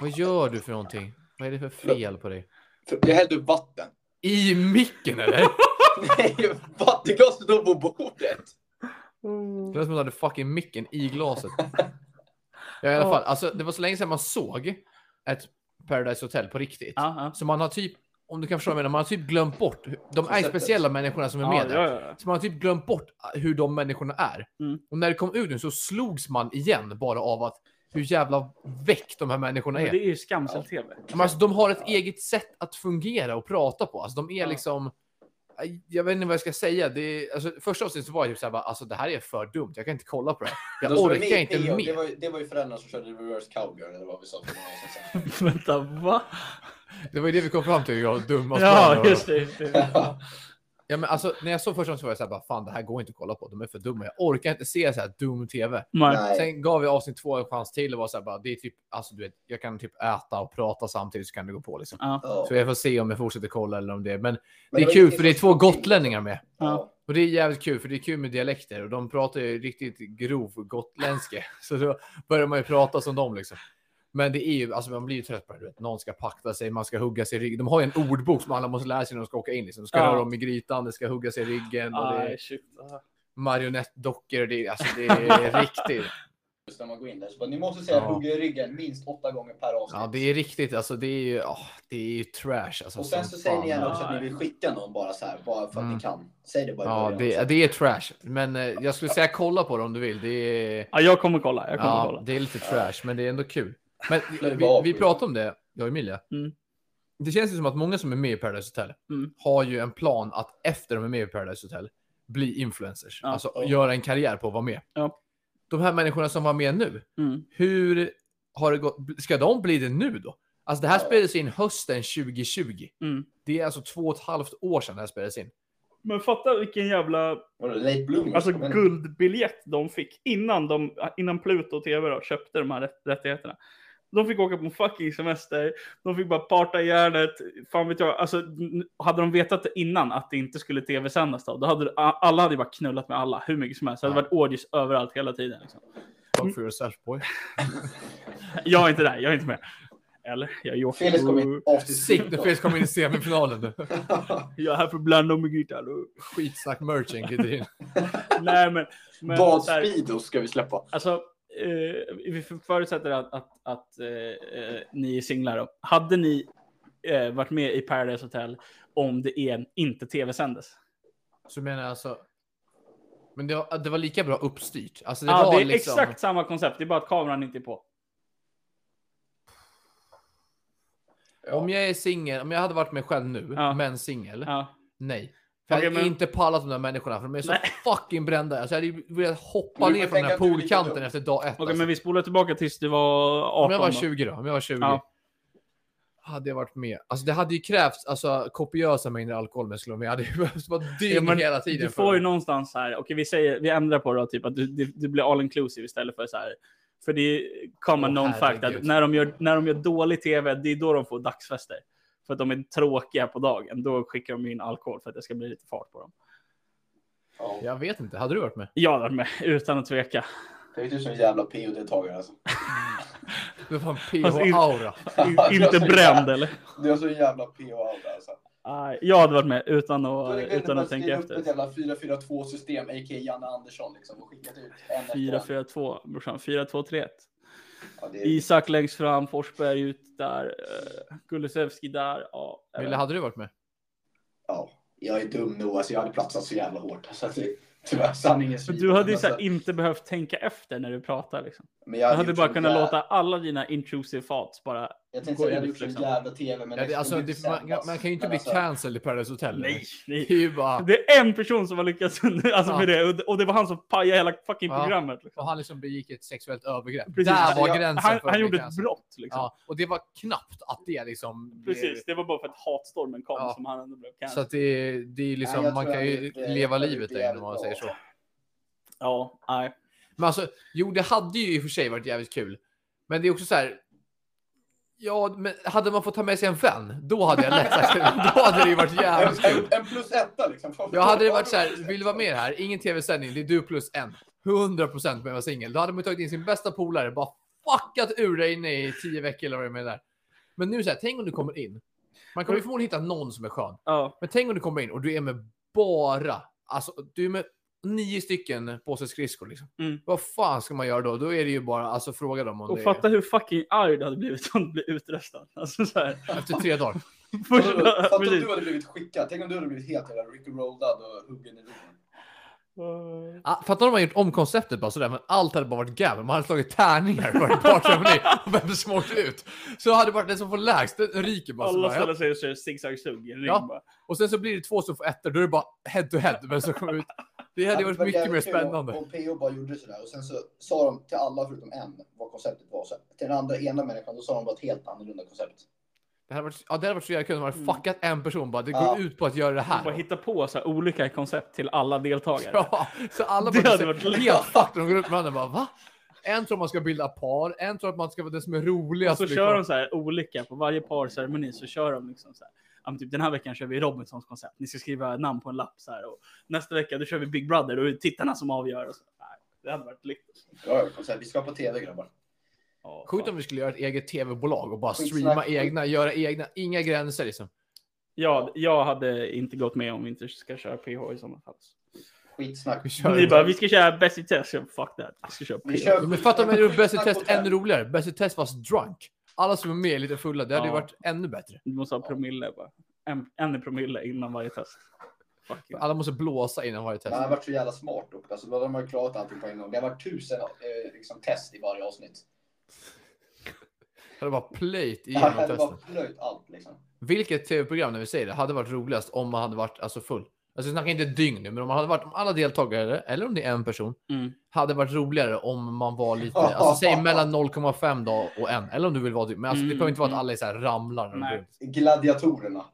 Speaker 2: Vad gör du för någonting? Vad är det för fel på dig?
Speaker 3: För- Jag hällde upp vatten.
Speaker 2: I micken eller?
Speaker 3: Nej, vattenglaset låg på bordet.
Speaker 2: Det var som att du hade fucking micken i glaset. Ja, i alla fall. Alltså, det var så länge sedan man såg ett Paradise Hotel på riktigt.
Speaker 1: Ja, ja.
Speaker 2: Så man har typ, om du kan förstå vad jag menar, man har typ glömt bort. hur- De är ju
Speaker 3: Konceptet.
Speaker 2: speciella människorna som är
Speaker 1: Ja,
Speaker 2: med där.
Speaker 1: ja, ja.
Speaker 2: Så man har typ glömt bort hur de människorna är.
Speaker 1: Mm.
Speaker 2: Och när det kom ut nu så slogs man igen bara av att hur jävla väck de här människorna
Speaker 1: Men
Speaker 2: är.
Speaker 1: det är ju skamsen tv.
Speaker 2: Men alltså, de har ett eget sätt att fungera och prata på. Alltså, de är
Speaker 1: Ja.
Speaker 2: liksom... Jag vet inte vad jag ska säga. Det är, alltså, första avsnittet så var jag typ så här, bara, alltså det här är för dumt. Jag kan inte kolla på det här.
Speaker 3: De
Speaker 2: Jag
Speaker 3: som är
Speaker 2: orkar
Speaker 3: med i
Speaker 2: inte
Speaker 3: PO, Det
Speaker 2: mer.
Speaker 3: var, ju- det var ju föräldrarna som körde reverse cowgirl eller vad vi sa för några år sedan.
Speaker 1: Vänta, va?
Speaker 2: Det var ju det vi kom fram till. Jag var dum
Speaker 1: Ja, just det. Just det.
Speaker 2: Ja, men alltså, när jag såg första avsnittet så var jag så här, bara, fan det här går inte att kolla på. De är för dumma. Jag orkar inte se så här dum tv.
Speaker 1: Nej.
Speaker 3: Nej.
Speaker 2: Sen gav vi avsnitt två en chans till och var så här, bara, det är typ, alltså du vet, jag kan typ äta och prata samtidigt så kan det gå på liksom.
Speaker 1: Ja.
Speaker 3: Ja.
Speaker 2: Så jag får se om jag fortsätter kolla eller om det. Men
Speaker 3: Men
Speaker 2: det är
Speaker 3: var
Speaker 2: kul
Speaker 3: inget
Speaker 2: för det är
Speaker 3: som-
Speaker 2: två gotlänningar med.
Speaker 3: Ja.
Speaker 2: Och det är jävligt kul för det är kul med dialekter och de pratar ju riktigt grov gotländska. Så då börjar man ju prata som dem liksom. Men det är ju, alltså man blir ju trött på det. du vet. Någon ska pakta sig, man ska hugga sig i ryggen. De har ju en ordbok som alla måste lära sig när de ska åka in. Liksom. De ska
Speaker 1: Ja.
Speaker 2: röra om i grytan, det ska hugga sig i ryggen och det
Speaker 1: Aj,
Speaker 2: är
Speaker 1: shit. Ja.
Speaker 2: marionettdockor. Det är, alltså det är riktigt.
Speaker 3: Just när man går in där så bara, ni måste säga
Speaker 2: Ja.
Speaker 3: hugga i ryggen minst åtta gånger per avsnitt.
Speaker 2: Ja, det är riktigt. Alltså det är ju, ah, det är ju trash. Alltså,
Speaker 3: Och sen
Speaker 2: som
Speaker 3: så säger ni
Speaker 2: fan.
Speaker 3: gärna
Speaker 1: ja.
Speaker 3: också att ni vill skicka någon bara så här, bara för att
Speaker 2: Mm.
Speaker 3: ni kan. Säg det bara i
Speaker 2: Ja,
Speaker 3: början.
Speaker 2: det, det är trash. Men eh, jag skulle säga kolla på det om du vill. Det är,
Speaker 1: Ja, jag kommer kolla. Jag kommer
Speaker 2: ja,
Speaker 1: kolla.
Speaker 2: det är lite trash, men det är ändå kul. Men
Speaker 3: Det är
Speaker 2: vi,
Speaker 3: bara
Speaker 2: vi
Speaker 3: skit.
Speaker 2: pratade om det, jag och Emilia.
Speaker 1: Mm.
Speaker 2: Det känns ju som att många som är med i Paradise Hotel
Speaker 1: Mm.
Speaker 2: har ju en plan att efter de är med i Paradise Hotel bli influencers.
Speaker 1: Ja.
Speaker 2: Alltså
Speaker 3: Ja.
Speaker 2: göra en karriär på att vara med.
Speaker 1: Ja.
Speaker 2: De här människorna som var med nu,
Speaker 1: Mm.
Speaker 2: hur har det gått? Ska de bli det nu då? Alltså det här
Speaker 3: Ja.
Speaker 2: spelades in hösten 2020.
Speaker 1: Mm.
Speaker 2: Det är alltså två och ett halvt år sedan det här spelades in.
Speaker 1: Men fatta vilken jävla
Speaker 3: Vadå, liksom, late bloomers?
Speaker 1: alltså,
Speaker 3: Men-
Speaker 1: guldbiljett de fick innan, de, innan Pluto TV då, köpte de här rätt- rättigheterna. De fick åka på en fucking semester. De fick bara parta i hjärnet. Fan vet jag. Alltså, n- hade de vetat det innan att det inte skulle tv-sändas då, då hade det- a- alla hade ju bara knullat med alla hur mycket som helst. Det hade
Speaker 2: Ja.
Speaker 1: varit orgies överallt hela tiden. Liksom.
Speaker 2: Fuck for yourself boy.
Speaker 1: Jag är inte där, jag är inte med. Eller? Jag är joker.
Speaker 3: Felix kom in after
Speaker 2: Sikte Felix kommer in i semifinalen nu.
Speaker 1: Jag är här för att blanda om med gitarr.
Speaker 2: Skitsnack merching glider in.
Speaker 1: Nej men. men
Speaker 3: Bad
Speaker 1: så här-
Speaker 3: Speedos ska vi släppa.
Speaker 1: Alltså, eh, vi förutsätter att, att, att eh, eh, ni är singlar. då. Hade ni eh, varit med i Paradise Hotel om det är inte tv-sändes?
Speaker 2: Så menar jag alltså. Men det var, det var lika bra uppstyrt. Alltså det
Speaker 1: Ja,
Speaker 2: var
Speaker 1: det är
Speaker 2: liksom.
Speaker 1: exakt samma koncept, det är bara att kameran inte är på.
Speaker 3: Ja.
Speaker 2: Om jag är singel, om jag hade varit mig själv nu,
Speaker 1: Ja.
Speaker 2: men singel.
Speaker 1: Ja.
Speaker 2: Nej. För jag
Speaker 1: Okej,
Speaker 2: hade
Speaker 1: men-
Speaker 2: inte pallat de där människorna för de är så
Speaker 1: Nej.
Speaker 2: fucking brända. Alltså jag hade ju velat hoppa
Speaker 3: Du
Speaker 2: ner
Speaker 3: får
Speaker 2: från den här
Speaker 3: tänka att du är lika
Speaker 2: poolkanten
Speaker 3: dum.
Speaker 2: efter dag ett.
Speaker 1: Okej,
Speaker 2: alltså.
Speaker 1: men vi spolar tillbaka tills du var 18.
Speaker 2: Om jag var
Speaker 1: då.
Speaker 2: 20 då? Om jag var 20?
Speaker 1: Ja.
Speaker 2: Hade jag varit med? Alltså det hade ju krävts alltså, kopiösa mängder alkohol med skulle vara med. Jag hade ju behövt vara dygn
Speaker 1: Ja, men
Speaker 2: hela tiden.
Speaker 1: Du
Speaker 2: för
Speaker 1: får ju
Speaker 2: det.
Speaker 1: någonstans här, okej vi säger, vi ändrar på det då, typ att du, du, du blir all inclusive istället för så här. För det är common
Speaker 2: Åh,
Speaker 1: known fact att
Speaker 2: herregud.
Speaker 1: när de, gör, när de gör dålig tv, det är då de får dagsfester. För att de är tråkiga på dagen, då skickar de in alkohol för att det ska bli lite fart på dem.
Speaker 3: Ja.
Speaker 2: Jag vet inte. Hade du varit med?
Speaker 1: Jag hade varit med utan att tveka.
Speaker 3: Det är du som en jävla PO-deltagare alltså.
Speaker 2: Du har fan
Speaker 1: Fast in-
Speaker 2: PH-aura.
Speaker 1: In, inte bränd eller?
Speaker 3: Du har så jävla PO-aura alltså.
Speaker 1: Nej, jag hade varit med utan
Speaker 3: Då är
Speaker 1: att,
Speaker 3: det bättre
Speaker 1: utan
Speaker 3: bara
Speaker 1: att
Speaker 3: att
Speaker 1: tänka
Speaker 3: skriva upp
Speaker 1: efter.
Speaker 3: ett jävla 4-4-2-system, a.k.a. Janne Andersson liksom, och skickat ut en efter en.
Speaker 1: 4-4-2, brorsan. 4-2-3-1.
Speaker 3: Ja, det är-
Speaker 1: Isak längst fram, Forsberg ut där, eh, Kulusevski där. Ja, jag vet
Speaker 2: Ville, hade du varit med?
Speaker 3: Ja, jag är dum nog. Alltså, jag hade platsat så jävla hårt. Så att det, tyvärr, sanningen
Speaker 1: För
Speaker 2: typ
Speaker 3: svider.
Speaker 1: du hade ju så här
Speaker 3: Alltså,
Speaker 1: inte behövt tänka efter när du pratar. Liksom.
Speaker 3: men jag
Speaker 1: Du hade
Speaker 3: gjort
Speaker 1: bara
Speaker 3: sån
Speaker 1: kunnat
Speaker 3: jä-
Speaker 1: låta alla dina intrusive thoughts bara...
Speaker 3: Jag tänkte
Speaker 1: gå
Speaker 3: säga, jag hade
Speaker 1: ut,
Speaker 3: gjort sån
Speaker 1: liksom.
Speaker 3: jävla tv. Men
Speaker 2: Ja, det, alltså, det, alltså. man, man kan ju inte bli
Speaker 3: alltså-
Speaker 2: cancelled i Paradise Hotel. eller?
Speaker 1: Nej, nej.
Speaker 2: Det är ju bara...
Speaker 1: Det är en person som har lyckats alltså,
Speaker 2: Ja.
Speaker 1: med det och det- och det var han som pajade hela fucking
Speaker 2: Ja.
Speaker 1: programmet. Liksom.
Speaker 2: Och han liksom begick ett sexuellt övergrepp.
Speaker 1: Precis.
Speaker 2: Där
Speaker 1: Alltså,
Speaker 2: var
Speaker 3: jag-
Speaker 2: gränsen
Speaker 1: Han,
Speaker 2: för
Speaker 1: han
Speaker 2: att bli
Speaker 1: gjorde ett
Speaker 2: cancelled.
Speaker 1: brott liksom.
Speaker 2: Ja, och det var knappt att det liksom...
Speaker 1: Precis, det var bara för att hatstormen kom
Speaker 2: Ja.
Speaker 1: som han ändå blev
Speaker 2: Så
Speaker 1: cancelled.
Speaker 2: att det, det är liksom,
Speaker 3: Nej, jag
Speaker 2: man
Speaker 3: tror
Speaker 2: kan
Speaker 3: jag
Speaker 2: ju
Speaker 3: hade gjort det-
Speaker 2: leva
Speaker 3: jag hade gjort
Speaker 2: livet
Speaker 3: det
Speaker 2: där inne, om man säger
Speaker 3: jävligt
Speaker 2: så.
Speaker 3: bra.
Speaker 1: Ja, nej.
Speaker 2: Men alltså, jo, det hade ju i och för sig varit jävligt kul. Men det är också så här. Ja, men hade man fått ta med sig en vän, då hade jag lätt sagt Då hade det ju varit jävligt
Speaker 3: En,
Speaker 2: kul.
Speaker 3: en, en plus etta liksom. Fan,
Speaker 2: Jag hade det varit så här,
Speaker 3: fan,
Speaker 2: vill du vara med här? Ingen tv-sändning, det är du plus en. 100% med att vara singel. Då hade man tagit in sin bästa polare, bara fuckat ur dig inne i tio veckor eller vad det är med där. Men nu så här, tänk om du kommer in. Man kommer ju förmodligen hitta någon som är skön.
Speaker 1: Ja.
Speaker 2: Men tänk om du kommer in och du är med bara, alltså du är med nio stycken påse skridskor liksom.
Speaker 1: Mm.
Speaker 2: Vad fan ska man göra då? Då är det ju bara, alltså fråga dem om
Speaker 1: Och
Speaker 2: det
Speaker 1: fatta hur fucking arg du hade blivit om du blev utröstad. Alltså så här.
Speaker 2: är, efter tre dagar.
Speaker 3: Fatta om-
Speaker 1: Första,
Speaker 3: fatta om
Speaker 1: precis.
Speaker 3: du hade blivit skickad. Tänk om du hade blivit helt jävla Ricky Roldad och huggen i ryggen.
Speaker 2: Ah, fattar om man gjort om konceptet bara sådär, men allt hade bara varit gavel. Man hade slagit tärningar för ett par ceremoni och vem som åkte ut. Så hade det varit den som får lägst, den ryker bara. så
Speaker 1: Alla
Speaker 2: bara ja.
Speaker 1: ställer sig och kör zigzag-sug i en ring
Speaker 2: Ja.
Speaker 1: bara.
Speaker 2: Och sen så blir det två som får ettor, då är det bara head to head vem som kommer ut. Det hade varit mycket mer
Speaker 3: jävligt kul
Speaker 2: spännande.
Speaker 3: Om, om PO bara gjorde sådär och sen så sa de till alla förutom en vad konceptet var. Så till den andra ena människan då sa de bara ett helt annorlunda koncept.
Speaker 2: Det hade varit, ja, det hade varit så jävla kul om man hade fuckat en person bara, det går
Speaker 3: Ja.
Speaker 2: ut på att göra det här.
Speaker 1: Mm. Bara hitta på så här olika koncept till alla deltagare.
Speaker 2: Ja, så alla
Speaker 1: Det
Speaker 2: bara
Speaker 1: hade
Speaker 2: så-
Speaker 1: varit
Speaker 2: helt fucked. De går upp med varandra och bara va? En tror man ska bilda par, en tror att man ska vara den som är roligast.
Speaker 1: Så kör de så här olika på varje parceremoni så kör de liksom så här. Ja, men typ den här veckan kör vi Robinsons koncept. Ni ska skriva namn på en lapp så här och nästa vecka då kör vi Big Brother och det är tittarna som avgör. Och så. Nej, det hade varit lyckligt.
Speaker 3: Ja, ja, koncept. Vi ska på tv grabbar.
Speaker 1: Ja,
Speaker 2: Sjukt
Speaker 1: fan.
Speaker 2: om vi skulle göra ett eget tv-bolag och bara
Speaker 3: Skitsnack.
Speaker 2: streama egna, göra egna, inga gränser liksom.
Speaker 1: Ja, jag hade inte gått med om vi inte ska köra PH i sådana fall.
Speaker 3: Skitsnack.
Speaker 2: Vi kör
Speaker 1: Ni bara, vi ska köra Bäst i test. Jag bara, Fuck that. Vi ska köra PH.
Speaker 3: Vi kör-
Speaker 2: Ja, Men fatta om jag gjorde Bäst i
Speaker 3: Skitsnack
Speaker 2: test
Speaker 3: på
Speaker 2: ännu roligare. Bäst i test fast drunk. Alla som är med är lite fulla, det hade ju
Speaker 1: Ja.
Speaker 2: varit ännu bättre.
Speaker 1: Du måste ha promille bara. En, en i promille innan varje test. Fuck you.
Speaker 2: Alla måste blåsa innan varje
Speaker 3: Man
Speaker 2: test.
Speaker 3: har varit så jävla smart dock. Alltså, då hade man ju klarat allting på en gång. Det har varit tusen eh, liksom, test i varje avsnitt.
Speaker 2: Hade bara plöjt
Speaker 3: Det hade
Speaker 2: igenom
Speaker 3: hade bara
Speaker 2: testen.
Speaker 3: plöjt allt liksom.
Speaker 2: Vilket tv-program, när vi säger det, hade varit roligast om man hade varit alltså, full? Alltså jag snackar inte ett dygn nu, men om man hade varit, om alla deltagare, eller om det är en person,
Speaker 1: Mm.
Speaker 2: hade varit roligare om man var lite, alltså säg mellan 0,5 dag och en, eller om du vill vara typ, men alltså, det
Speaker 1: Mm,
Speaker 2: behöver inte vara att
Speaker 1: mm.
Speaker 2: alla är så här ramlar. när de
Speaker 1: Nej.
Speaker 2: går ut.
Speaker 3: Gladiatorerna.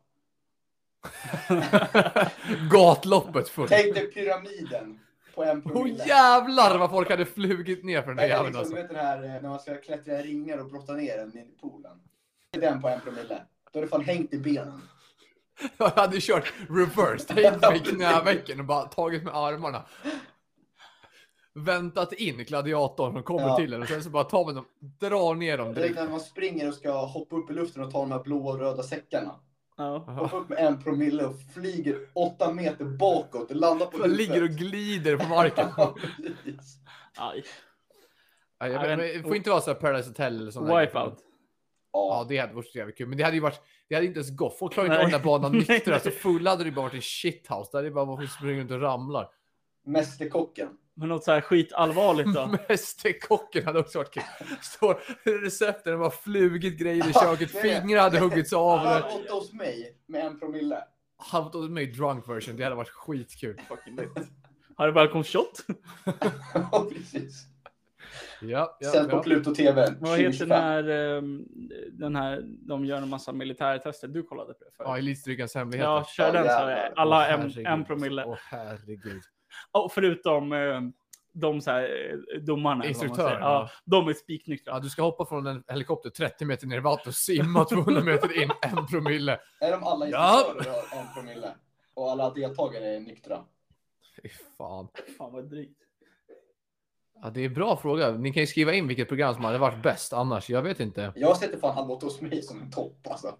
Speaker 2: Gatloppet fullt.
Speaker 3: Tänk dig pyramiden på en
Speaker 2: Åh
Speaker 3: promille.
Speaker 2: jävlar vad folk hade flugit ner för den där
Speaker 3: Eller
Speaker 2: jäveln
Speaker 3: liksom, du
Speaker 2: alltså.
Speaker 3: vet den här eh, när man ska klättra i ringar och brotta ner den i poolen. Den på en promille. Då har det fan hängt i benen.
Speaker 2: Jag hade kört reverse, tänkt mig knävecken och bara tagit med armarna. Väntat in gladiatorn som kommer
Speaker 3: Ja.
Speaker 2: till en och sen så bara tar man dem, drar ner dem
Speaker 3: Det är liksom
Speaker 2: direkt.
Speaker 3: när man springer och ska hoppa upp i luften och ta de här blåa och röda säckarna.
Speaker 1: Ja.
Speaker 2: Ja.
Speaker 3: Hoppa upp med en promille och flyger åtta meter bakåt och landar på
Speaker 2: Man ligger och glider på marken.
Speaker 3: Ja, precis.
Speaker 1: Aj.
Speaker 2: Ja, jag
Speaker 1: Nej,
Speaker 2: vet,
Speaker 1: men-
Speaker 2: men, det får inte vara så här Paradise Hotel eller sånt. där.
Speaker 1: Wipeout.
Speaker 2: Ja,
Speaker 3: Ja,
Speaker 2: det hade varit så jävligt kul. Men det hade ju varit, det hade inte ens gått. Folk klarar inte
Speaker 1: Nej.
Speaker 2: av den där banan
Speaker 1: Nej,
Speaker 2: nyktra.
Speaker 1: nej.
Speaker 2: Alltså fulla hade det ju bara varit en shithouse. Där hade det bara varit folk som springer runt och ramlar.
Speaker 3: Mästerkocken.
Speaker 1: Men något så här skitallvarligt då.
Speaker 2: Mästerkocken hade också varit kul. Står recepten och bara flugit grejer i köket. Fingrar hade huggits av.
Speaker 3: Han åtta hos mig med en promille.
Speaker 2: Halvt åt mig drunk version. Det hade varit skitkul.
Speaker 1: Har du balkongshot?
Speaker 3: Ja, precis.
Speaker 2: Ja, ja,
Speaker 3: Sen på
Speaker 2: ja.
Speaker 3: Pluto TV.
Speaker 1: Vad heter den
Speaker 3: 2025.
Speaker 1: här, ehm, den här, de gör en massa militärtester. Du kollade på det förut.
Speaker 2: Ja, Elitstrygarens hemligheter.
Speaker 1: Ja, kör den så
Speaker 3: jävlar.
Speaker 1: här. Alla
Speaker 2: Åh,
Speaker 1: har en,
Speaker 2: herregud.
Speaker 1: en promille.
Speaker 2: Åh herregud.
Speaker 1: Och förutom eh, de så här eh, domarna. eller vad man säger.
Speaker 2: Instruktören,
Speaker 1: Ja,
Speaker 2: ja.
Speaker 1: de är
Speaker 2: Ja,
Speaker 1: spiknyktra.
Speaker 2: du ska hoppa från en helikopter 30 meter ner i vattnet och simma 200 meter in en promille.
Speaker 3: Är de alla
Speaker 2: Ja.
Speaker 3: instruktörer och har en promille? Och alla deltagare är nyktra?
Speaker 2: Fy fan.
Speaker 1: Fan vad drygt.
Speaker 2: Ja, det är en bra fråga. Ni kan ju skriva in vilket program som hade varit bäst annars. Jag vet inte.
Speaker 3: Jag sätter fan han åt hos mig som en topp alltså.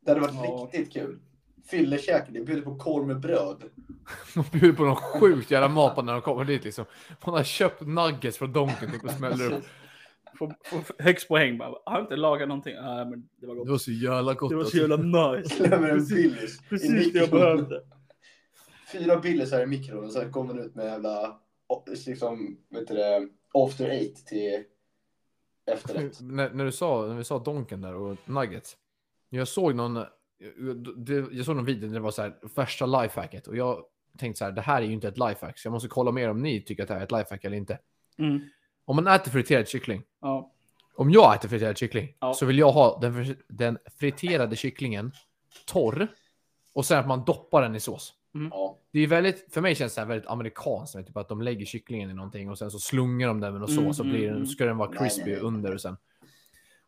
Speaker 3: Det hade varit
Speaker 1: Ja.
Speaker 3: riktigt kul. Fyllekäk, det bjuder på korv med bröd.
Speaker 2: De bjuder på någon sjukt jävla mat på när de kommer dit liksom. Man har köpt nuggets från Donken typ och smäller upp.
Speaker 1: Får, får högst poäng bara. Har jag inte lagat någonting? Nej, men det var
Speaker 2: Det
Speaker 1: gott.
Speaker 2: var så jävla gott.
Speaker 1: Det var så
Speaker 2: alltså.
Speaker 1: jävla nice.
Speaker 3: Släpper en
Speaker 1: Precis,
Speaker 3: Billys. i
Speaker 1: precis det jag
Speaker 3: mikron.
Speaker 1: behövde.
Speaker 3: Fyra Billys här i mikron och sen kommer den ut med jävla, o- liksom, vet du det, after eight till efterrätt.
Speaker 2: När, när, du sa, när vi sa Donken där och Nuggets. Jag såg någon, det, jag såg någon video där det var så här, värsta lifehacket. Och jag tänkte så här, det här är ju inte ett lifehack. Så jag måste kolla mer om ni tycker att det här är ett lifehack eller inte.
Speaker 1: Mm.
Speaker 2: Om man äter friterad kyckling.
Speaker 1: Ja.
Speaker 2: Om jag äter friterad kyckling
Speaker 1: Ja.
Speaker 2: så vill jag ha den, fri- den friterade kycklingen torr. Och sen att man doppar den i sås.
Speaker 3: Ja.
Speaker 2: Det är väldigt, för mig känns det här väldigt amerikanskt. vet du, Typ att de lägger kycklingen i någonting och sen så slungar de den med någon
Speaker 1: Mm,
Speaker 2: sås och
Speaker 1: mm,
Speaker 2: blir den,
Speaker 1: mm.
Speaker 2: ska den vara
Speaker 3: Nej,
Speaker 2: crispy
Speaker 3: nej, nej.
Speaker 2: under och sen.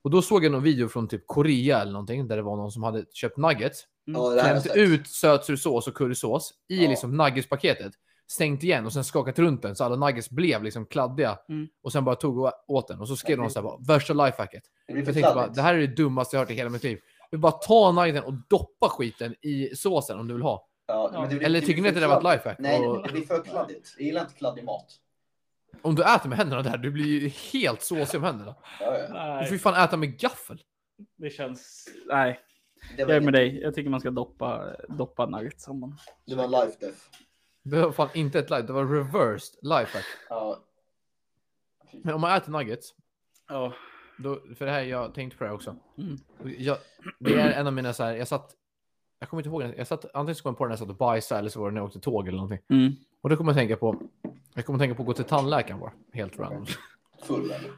Speaker 2: Och då såg jag någon video från typ Korea eller någonting där det var någon som hade köpt nuggets,
Speaker 1: Mm.
Speaker 3: ja det här har jag
Speaker 2: klämt
Speaker 3: sett.
Speaker 2: ut sötsursås och currysås i
Speaker 3: Ja.
Speaker 2: liksom nuggetspaketet, stängt igen och sen skakat runt den så alla nuggets blev liksom kladdiga
Speaker 1: Mm.
Speaker 2: och sen bara tog och åt den och så skrev
Speaker 3: Nej,
Speaker 2: de
Speaker 3: det-
Speaker 2: så här bara, värsta lifehacket.
Speaker 3: Det blir för
Speaker 2: Jag tänkte bara,
Speaker 3: kladdigt.
Speaker 2: det här är det dummaste jag hört i hela mitt liv. Du bara ta nuggeten och doppa skiten i såsen om du vill ha.
Speaker 3: Ja, men det blir-
Speaker 2: Eller
Speaker 3: blir
Speaker 2: tycker ni
Speaker 3: för
Speaker 2: inte det var ett
Speaker 3: kladdigt?
Speaker 2: lifehack?
Speaker 3: Nej,
Speaker 2: Och-
Speaker 3: det blir för kladdigt. Jag gillar inte kladdig mat.
Speaker 2: Om du äter med händerna där, du blir ju helt såsig om händerna.
Speaker 3: Ja, ja.
Speaker 2: Du får ju
Speaker 1: Nej,
Speaker 2: fan äta med gaffel.
Speaker 1: det känns... Nej,
Speaker 3: Det,
Speaker 1: jag är
Speaker 3: var,
Speaker 1: med dig. Jag tycker man ska doppa, doppa nuggets. om man-
Speaker 3: det var en life death.
Speaker 2: Det var fan inte ett life, det var reversed lifehack.
Speaker 3: Ja,
Speaker 2: Men om man äter nuggets,
Speaker 1: Ja.
Speaker 2: då, för det här jag tänkte på det här också.
Speaker 1: Mm.
Speaker 2: Jag, det är en av mina så här, jag satt, jag kommer inte ihåg, den. jag satt, antingen så kom jag på den när jag satt och bajsade eller så var det när jag åkte tåg eller någonting.
Speaker 1: Mm.
Speaker 2: Och då kommer jag tänka på, jag kommer tänka på att gå till tandläkaren bara, helt random.
Speaker 3: full eller?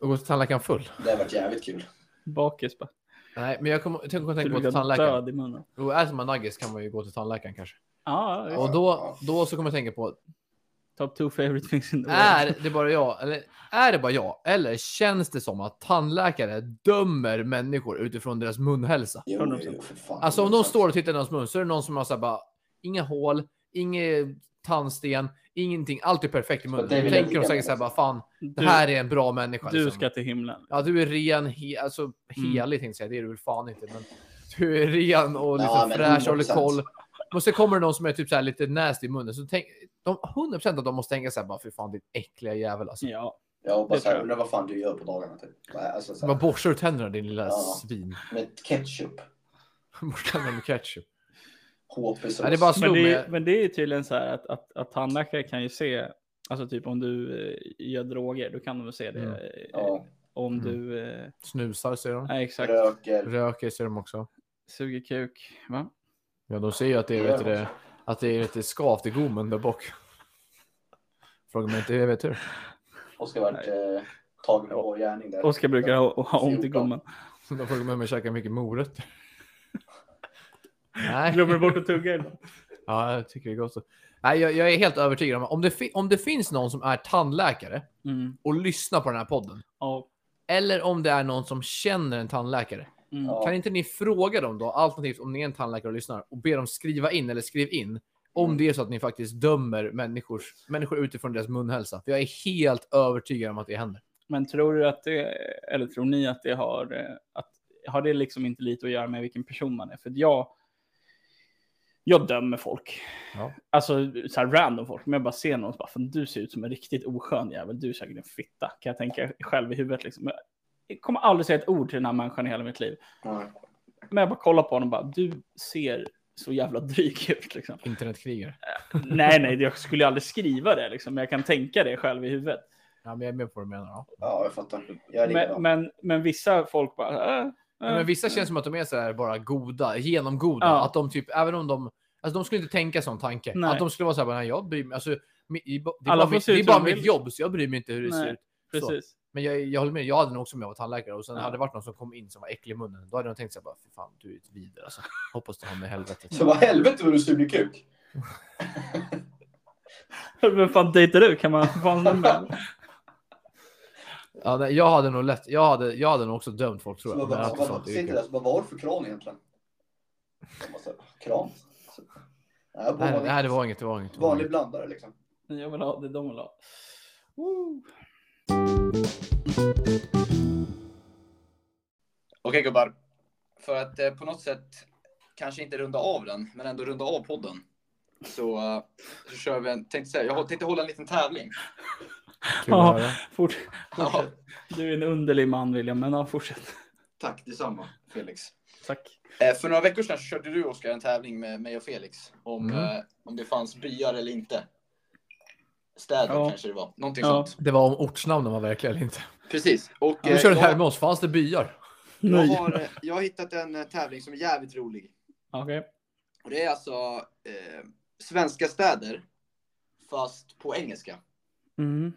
Speaker 2: Och gå till tandläkaren full.
Speaker 3: Det har varit jävligt kul.
Speaker 1: Bakis bara.
Speaker 2: Nej, men jag kommer jag kommer tänka
Speaker 1: Skulle
Speaker 2: på att gå till
Speaker 1: vilja
Speaker 2: tandläkaren.
Speaker 1: död i munnen.
Speaker 2: Och äter man nuggets kan man ju gå till tandläkaren kanske.
Speaker 1: Ja, ja,
Speaker 2: Och då, då så kommer jag tänka på,
Speaker 1: Top two favorite things in the world.
Speaker 2: Är det bara jag? Eller är det bara jag? Eller känns det som att tandläkare dömer människor utifrån deras munhälsa?
Speaker 3: Jo,
Speaker 1: 100%.
Speaker 3: jo, för fan.
Speaker 2: Alltså om de står och tittar i någons mun så är det någon som har så här bara inga hål, inget tandsten, ingenting. Allt är perfekt i munnen.
Speaker 3: Det är
Speaker 2: Då
Speaker 3: väl
Speaker 2: tänker de
Speaker 3: lika
Speaker 2: säkert så här bara fan, det
Speaker 1: du,
Speaker 2: här är en bra människa.
Speaker 1: du
Speaker 2: liksom.
Speaker 1: ska Mm. till himlen.
Speaker 2: Ja, du är ren, he alltså helig tänkte jag säga. Det är du väl fan inte, men du är ren och liksom
Speaker 3: Ja, men
Speaker 2: fräsch och håller
Speaker 3: 100%.
Speaker 2: koll. Och så kommer det någon som är typ så här lite nasty i munnen. Så tänk, de, 100% att de måste tänka så här bara, fy fan din äckliga jävel alltså.
Speaker 1: Ja,
Speaker 3: Jag
Speaker 1: Det
Speaker 3: hoppas
Speaker 1: tror
Speaker 3: jag
Speaker 1: jag.
Speaker 3: undrar vad fan du gör på dagarna typ. Nej, Alltså, så
Speaker 2: Man
Speaker 3: här,
Speaker 2: borstar ur tänderna din lilla
Speaker 3: Ja.
Speaker 2: svin.
Speaker 3: med ketchup,
Speaker 2: Borstar tänderna med ketchup.
Speaker 3: HP-sås.
Speaker 2: Nej, det är bara
Speaker 1: men
Speaker 2: slog
Speaker 1: det, är-
Speaker 2: mig.
Speaker 1: men det är ju tydligen så här att, att, att tandläkare kan ju se, alltså typ om du eh, gör droger, då kan de väl se det.
Speaker 2: Mm.
Speaker 1: eh,
Speaker 3: Ja,
Speaker 1: Om
Speaker 2: Mm.
Speaker 1: du, eh,
Speaker 2: Snusar ser de.
Speaker 1: nej exakt,
Speaker 3: röker.
Speaker 2: Röker ser de också.
Speaker 1: suger kuk. Va?
Speaker 2: Ja, de ser ju att det är, vet du, det, att det är lite skavt i gommen där bak. Fråga mig inte hur jag vet hur.
Speaker 3: Oskar vart eh, tagen på vår gärning där.
Speaker 1: Oskar brukar ha, ha ont i
Speaker 3: 14.
Speaker 1: gommen.
Speaker 2: De frågar mig om jag käkar mycket morötter. Nej.
Speaker 1: Glömmer bort att tugga ibland.
Speaker 2: Ja, jag tycker det är gott. så. Nej, jag, jag är helt övertygad om om det, fi- om det finns någon som är tandläkare
Speaker 1: Mm.
Speaker 2: och lyssnar på den här podden.
Speaker 1: Ja.
Speaker 2: Eller om det är någon som känner en tandläkare.
Speaker 1: Mm.
Speaker 3: Ja.
Speaker 2: Kan inte ni fråga dem då, alternativt om ni är en tandläkare och lyssnar, och be dem skriva in eller skriv in
Speaker 1: Mm.
Speaker 2: om det är så att ni faktiskt dömer människors, människor utifrån deras munhälsa. För jag är helt övertygad om att det händer.
Speaker 1: Men tror du att det, eller tror ni att det har, eh, att, har det liksom inte lite att göra med vilken person man är? För att jag, jag dömer folk.
Speaker 2: Ja.
Speaker 1: Alltså så här random folk, men jag bara ser någon och bara, fan du ser ut som en riktigt oskön jävel, du är säkert en fitta, kan jag tänka själv i huvudet liksom. Men Jag kommer aldrig säga ett ord till den här människan i hela mitt liv.
Speaker 3: Nej.
Speaker 1: Men jag bara kollar på honom och bara, du ser så jävla dryg ut liksom.
Speaker 2: Internetkrigare.
Speaker 1: nej, nej, jag skulle aldrig skriva det liksom, men jag kan tänka det själv i huvudet.
Speaker 2: Ja, men jag är med på vad du menar. Ja.
Speaker 3: Ja, jag fattar. Jag är
Speaker 1: Men,
Speaker 3: likadan.
Speaker 1: men, men vissa folk bara, äh, äh.
Speaker 2: Men vissa känns som att de är så här bara goda, genomgoda.
Speaker 1: Ja.
Speaker 2: Att de typ, även om de... Alltså de skulle inte tänka sån tanke.
Speaker 1: Nej.
Speaker 2: Att de skulle vara så här, bara, nej, jag bryr mig. Alltså, mi- i- det är
Speaker 1: Alla
Speaker 2: bara,
Speaker 1: får
Speaker 2: mitt,
Speaker 1: se
Speaker 2: det är
Speaker 1: ut hur
Speaker 2: bara
Speaker 1: de
Speaker 2: mitt
Speaker 1: vill.
Speaker 2: jobb, så jag bryr mig inte hur det
Speaker 1: Nej,
Speaker 2: ser ut. Så.
Speaker 1: Precis.
Speaker 2: Men jag, jag håller med, jag hade nog också om jag var tandläkare och sen
Speaker 1: Ja.
Speaker 2: hade det varit någon som kom in som var äcklig i munnen. Då hade de tänkt sig bara, fy fan du är ett vidare alltså. Hoppas du hamnar i helvetet.
Speaker 3: Så vad helvete vad du suger kuk.
Speaker 1: Vem fan dejtar du? Kan man få hans nummer?
Speaker 2: Ja, nej, jag hade nog lätt, jag hade, jag hade nog också dömt folk
Speaker 3: Så
Speaker 2: tror jag. Men
Speaker 3: vad,
Speaker 2: jag hade
Speaker 3: vad, vad,
Speaker 2: sånt, det är
Speaker 3: sitter
Speaker 2: kul.
Speaker 3: där så bara, vad har du för kran egentligen? Jag bara, så här, Kran? Så- Ja,
Speaker 2: Nej,
Speaker 3: vanlig,
Speaker 2: nej, det var inget. Det var inget. det var
Speaker 3: vanlig
Speaker 2: inget.
Speaker 3: blandare liksom.
Speaker 1: Jag vill ha det de vill ha. Woo.
Speaker 3: Okej gubbar. För att eh, på något sätt kanske inte runda av den, men ändå runda av podden. Så, eh, så kör vi en, tänkte säga, jag har- tänkte hålla en liten tävling.
Speaker 2: Kul att
Speaker 1: Ja.
Speaker 2: höra.
Speaker 1: Fort,
Speaker 3: Ja,
Speaker 1: du är en underlig man William, men ja, fortsätt.
Speaker 3: tack detsamma Felix.
Speaker 1: Tack.
Speaker 3: Eh, för några veckor sedan så körde du Oskar en tävling med mig och Felix om,
Speaker 2: Mm.
Speaker 3: eh, om det fanns byar eller inte. Städer
Speaker 1: Ja.
Speaker 3: kanske det var, någonting
Speaker 1: Ja.
Speaker 3: sånt.
Speaker 2: Det var om ortsnamnen var verkliga eller inte.
Speaker 3: Precis. Och,
Speaker 2: Du
Speaker 3: eh,
Speaker 2: körde det här
Speaker 3: jag-
Speaker 2: med oss. Fanns det byar?
Speaker 3: Jag
Speaker 1: Nej.
Speaker 3: har, eh, jag har hittat en eh, tävling som är jävligt rolig.
Speaker 1: Okej.
Speaker 3: Och det är alltså eh, svenska städer, fast på engelska.
Speaker 1: Mm.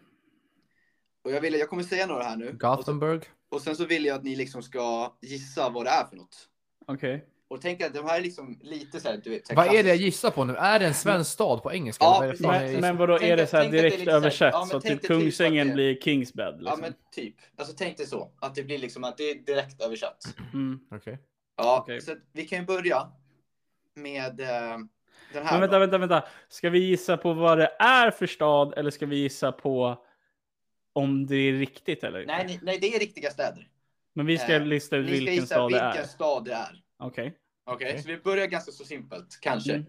Speaker 3: Och jag, vill, jag kommer säga några här nu. Och, så,
Speaker 2: Gothenburg?
Speaker 3: och sen så vill jag att ni liksom ska gissa vad det är för något.
Speaker 1: Okej.
Speaker 3: Och tänk att de här är liksom lite så här, du vet. så här
Speaker 2: Vad är det jag
Speaker 3: klassiskt.
Speaker 2: gissar på nu? Är det en svensk stad på engelska?
Speaker 3: Ja,
Speaker 2: Vad är det
Speaker 3: precis.
Speaker 2: fan jag
Speaker 1: Men,
Speaker 2: gissar?
Speaker 1: men vadå,
Speaker 3: Tänk
Speaker 1: är det
Speaker 3: att-
Speaker 1: så här
Speaker 3: tänk att det är
Speaker 1: direkt
Speaker 3: lite så här-
Speaker 1: översatt
Speaker 3: ja, men
Speaker 1: så att
Speaker 3: tänk
Speaker 1: typ
Speaker 3: dig typ att
Speaker 1: Kungsängen
Speaker 3: det-
Speaker 1: blir Kingsbed? Liksom.
Speaker 3: Ja, men typ. Alltså tänk dig så. Att det blir liksom att det är direkt översatt.
Speaker 1: mm.
Speaker 2: Okej.
Speaker 3: Ja,
Speaker 1: Okej.
Speaker 3: så att vi kan ju börja med eh, den här.
Speaker 1: men vänta,
Speaker 3: då.
Speaker 1: vänta, vänta. Ska vi gissa på vad det är för stad eller ska vi gissa på om det är riktigt eller inte?
Speaker 3: Nej, nej, nej, det är riktiga städer.
Speaker 1: Men vi ska
Speaker 3: eh,
Speaker 1: lista ut
Speaker 3: Ni ska
Speaker 1: vilken
Speaker 3: gissa
Speaker 1: stad det
Speaker 3: vilken
Speaker 1: är.
Speaker 3: stad det är.
Speaker 1: Okej.
Speaker 3: Okej,
Speaker 2: Okej.
Speaker 3: så vi börjar ganska så simpelt, kanske.
Speaker 1: Mm.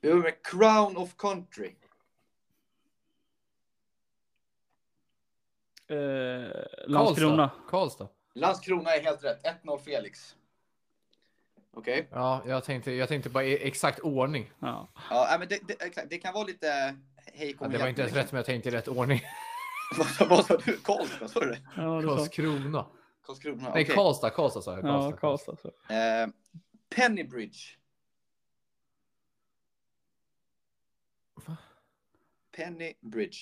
Speaker 3: Vi börjar med Crown of Country.
Speaker 1: Eh, Landskrona.
Speaker 2: Karlstad. Karlstad.
Speaker 3: Landskrona är helt rätt. 1-0 Felix. Okej.
Speaker 2: Ja, jag tänkte, jag tänkte bara i exakt ordning.
Speaker 1: Ja.
Speaker 3: Ja, nej, men det, det, exakt. det kan vara lite hej
Speaker 2: Ja,
Speaker 3: kom
Speaker 2: det var
Speaker 3: igen,
Speaker 2: inte ens
Speaker 3: liksom.
Speaker 2: rätt, men jag tänkte i rätt ordning.
Speaker 3: Vad- Vad sa du? Karlstad, sa du det?
Speaker 1: Ja, det är så.
Speaker 2: Karlskrona.
Speaker 3: Karlskrona,
Speaker 2: Nej,
Speaker 3: okej.
Speaker 2: Karlstad. Karlstad sa jag.
Speaker 1: Ja, Karlstad. Så.
Speaker 3: Eh, Pennybridge.
Speaker 2: Va?
Speaker 3: Pennybridge.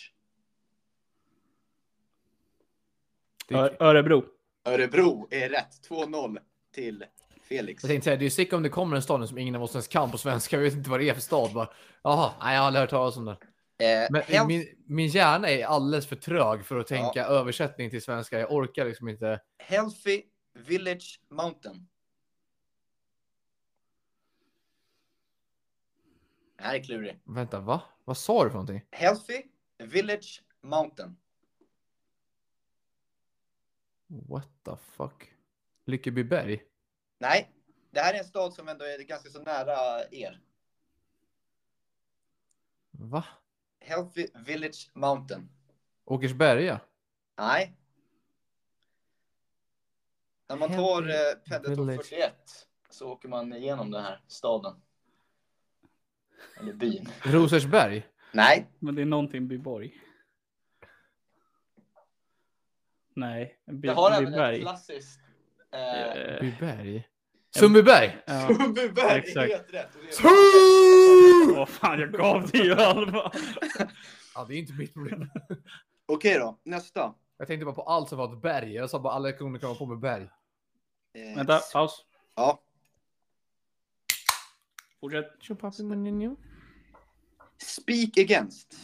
Speaker 2: Det-
Speaker 1: Ö- Örebro.
Speaker 3: Örebro är rätt. 2-0 till Felix.
Speaker 2: Jag tänkte säga, det är ju sick om det kommer en stad nu som ingen av oss ens kan på svenska. Jag vet inte vad det är för stad. Bara, Jaha, nej, jag har aldrig hört talas om den.
Speaker 3: Eh,
Speaker 2: Men
Speaker 3: Hel-
Speaker 2: min, min hjärna är alldeles för trög för att tänka översättning till svenska. Jag orkar liksom inte.
Speaker 3: Healthy Village Mountain. Det här är klurigt.
Speaker 2: Vänta, va? Vad sa du för någonting?
Speaker 3: Healthy Village Mountain.
Speaker 2: What the fuck? Lyckebyberg?
Speaker 3: Nej, det här är en stad som ändå är ganska så nära er.
Speaker 2: Va?
Speaker 3: Healthy Village Mountain.
Speaker 2: Åkersberga?
Speaker 3: Nej. När man tar
Speaker 2: Healthy
Speaker 3: eh, pendeltåg
Speaker 2: Village.
Speaker 3: 41 så åker man igenom den här staden. Eller byn.
Speaker 2: Rosersberg?
Speaker 3: Nej,
Speaker 1: Men det är någonting Byborg. Nej, By-
Speaker 3: det har även ett
Speaker 1: Byberg.
Speaker 3: klassiskt... Eh,
Speaker 1: Eh,
Speaker 2: Byberg? Sundbyberg?
Speaker 1: ja.
Speaker 3: Sundbyberg är
Speaker 1: exakt.
Speaker 3: helt rätt. Och det är-
Speaker 1: Åh fan, jag gav dig ju halva.
Speaker 2: Ja, det är inte mitt problem.
Speaker 3: Okej då, nästa.
Speaker 2: Jag tänkte bara på allt som var ett berg. Jag sa bara alla kunde komma på med berg.
Speaker 3: Eh,
Speaker 1: Vänta, paus.
Speaker 3: Ja.
Speaker 1: Fortsätt.
Speaker 3: Speak against.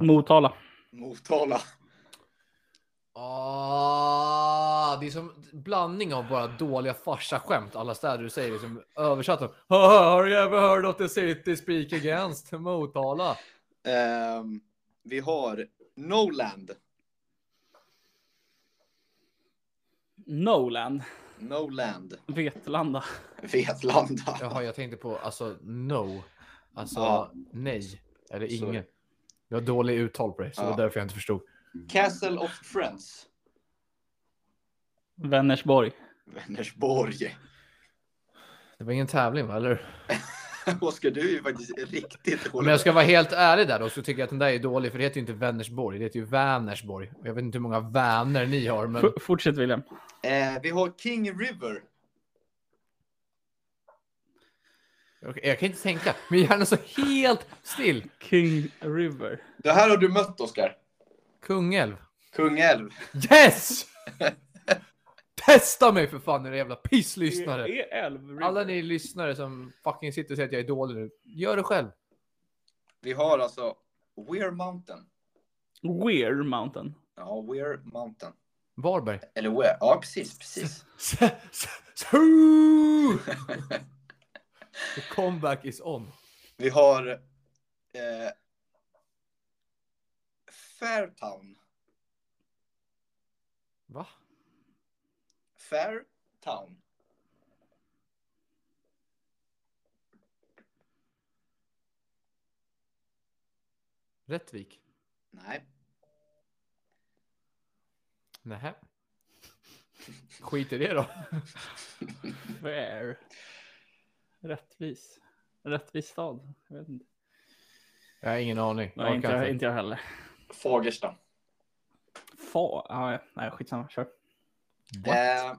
Speaker 1: Motala.
Speaker 3: Motala.
Speaker 2: Ah, det är som blandning av bara dåliga farsaskämt. Alla städer du säger liksom översatt dem. Har du ever heard of the city speak against Motala?
Speaker 3: Ehm, vi har Noland.
Speaker 1: Nolan.
Speaker 3: Noland.
Speaker 1: Vetlanda.
Speaker 3: Vetlanda.
Speaker 2: Jaha, jag tänkte på alltså no. Alltså
Speaker 3: Ja.
Speaker 2: nej. Eller
Speaker 3: Sorry.
Speaker 2: ingen. Jag har dålig uttal på det, så det
Speaker 3: Ja.
Speaker 2: var därför jag inte förstod.
Speaker 3: Castle of Friends.
Speaker 1: Vänersborg.
Speaker 3: Vänersborg.
Speaker 2: Det var ingen tävling va, eller hur?
Speaker 3: Oskar, du är ju faktiskt riktigt
Speaker 2: Men jag ska vara helt ärlig där då, så tycker jag att den där är dålig, för det heter ju inte Vänersborg, det heter ju Vänersborg. Och Jag vet inte hur många väner ni har, men...
Speaker 1: F- fortsätt William.
Speaker 3: Eh, vi har King River.
Speaker 2: Jag, jag kan inte tänka. Min hjärna står helt still.
Speaker 1: King River.
Speaker 3: Det här har du mött, Oskar.
Speaker 2: Kungälv.
Speaker 3: Kungälv.
Speaker 2: Yes! Testa mig för fan, era jävla pisslyssnare.
Speaker 1: E- E-älv River.
Speaker 2: Alla ni lyssnare som fucking sitter och säger att jag är dålig nu, gör det själv.
Speaker 3: Vi har alltså Weir Mountain.
Speaker 1: Weir Mountain.
Speaker 3: Ja, Weir Mountain.
Speaker 2: Varberg.
Speaker 3: Eller Weir. Ja, precis, precis.
Speaker 2: S- s- s- hoo! The comeback is on.
Speaker 3: Vi har eh, Fairtown.
Speaker 2: Va?
Speaker 3: Fairtown.
Speaker 2: Rättvik?
Speaker 3: Nej.
Speaker 2: Nähä. Skit i det då.
Speaker 1: Fair. Rättvis. Rättvis stad. Jag vet inte.
Speaker 2: Jag har ingen aning.
Speaker 1: Nej, inte,
Speaker 2: Orkar
Speaker 1: jag, inte jag heller.
Speaker 3: Fagersta.
Speaker 1: Fa. Ja, ja. nej, skitsamma. Kör.
Speaker 3: Eh,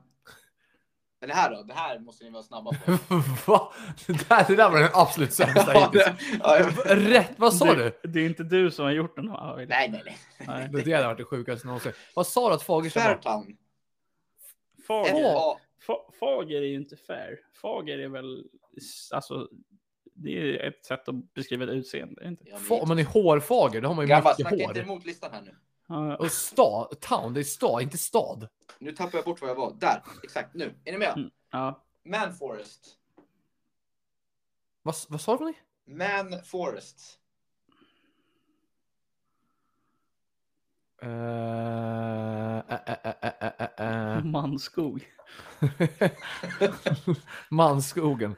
Speaker 3: men det här då? Det här måste ni vara snabba på.
Speaker 2: Va? Det där, det där var den absolut sämsta
Speaker 3: Ja,
Speaker 2: hittills.
Speaker 3: det- ja, jag-
Speaker 2: Rätt, vad sa du?
Speaker 1: Det är inte du som har gjort den. Ja, det-
Speaker 3: nej, nej, nej.
Speaker 1: nej.
Speaker 2: Det hade varit det sjukaste någonsin. Vad sa du att Fagersta var?
Speaker 3: Fairtown.
Speaker 1: Fager,
Speaker 3: F-A-
Speaker 1: Fa- Fager är ju inte fair. Fager är väl, s- alltså, det är ett sätt att beskriva ett utseende. är det Inte?
Speaker 3: Ja, men-
Speaker 2: Fa- Om man är hårfager, då har man ju
Speaker 3: Grabbar,
Speaker 2: mycket
Speaker 3: snacka
Speaker 2: hår.
Speaker 3: inte emot listan här nu.
Speaker 1: Ja,
Speaker 2: Och stad, town, det är stad, inte stad.
Speaker 3: Nu tappar jag bort vad jag var. Där, exakt. Nu. Är ni med?
Speaker 1: Mm. ja.
Speaker 3: Manforest.
Speaker 2: Vad, vad sa du?
Speaker 3: Manforest.
Speaker 2: Uh, uh, uh,
Speaker 1: Manskog.
Speaker 2: Mansskogen.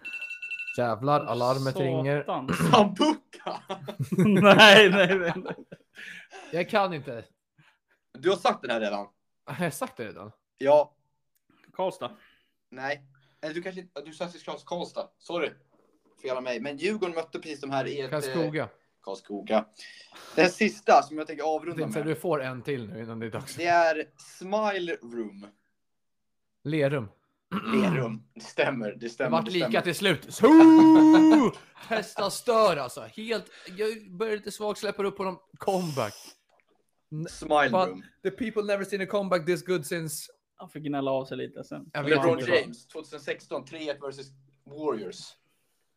Speaker 2: Jävlar, alarmet
Speaker 1: Satan.
Speaker 2: ringer.
Speaker 3: Sambuca!
Speaker 1: nej, nej, nej. nej.
Speaker 2: Jag kan inte.
Speaker 3: Du har sagt den här redan.
Speaker 2: Har jag sagt det redan?
Speaker 3: Ja.
Speaker 1: Karlstad.
Speaker 3: Nej. Eller du kanske inte... Du sa till Klas Karlstad. Sorry. Fel av mig. Men Djurgården mötte precis de här i ett... eh,
Speaker 2: Karlskoga.
Speaker 3: Karlskoga. Den sista som jag tänker
Speaker 2: Jag
Speaker 3: avrunda
Speaker 2: tänkte att du
Speaker 3: med.
Speaker 2: får en till nu innan det är dags.
Speaker 3: Det är Smile Room.
Speaker 2: Lerum.
Speaker 3: Lerum. Det stämmer. Det
Speaker 2: Det
Speaker 3: stämmer.
Speaker 2: vart
Speaker 3: det
Speaker 2: lika
Speaker 3: stämmer.
Speaker 2: till slut. So! Testa stör alltså. Helt, jag börjar lite svagt, släpper upp på dem. Comeback.
Speaker 3: Smile
Speaker 2: Fan.
Speaker 3: Room.
Speaker 2: The people never seen a comeback this good since...
Speaker 1: Han fick gnälla av sig lite sen.
Speaker 2: Jag vet
Speaker 3: LeBron
Speaker 2: inte.
Speaker 3: James 2016. 3-1 versus Warriors.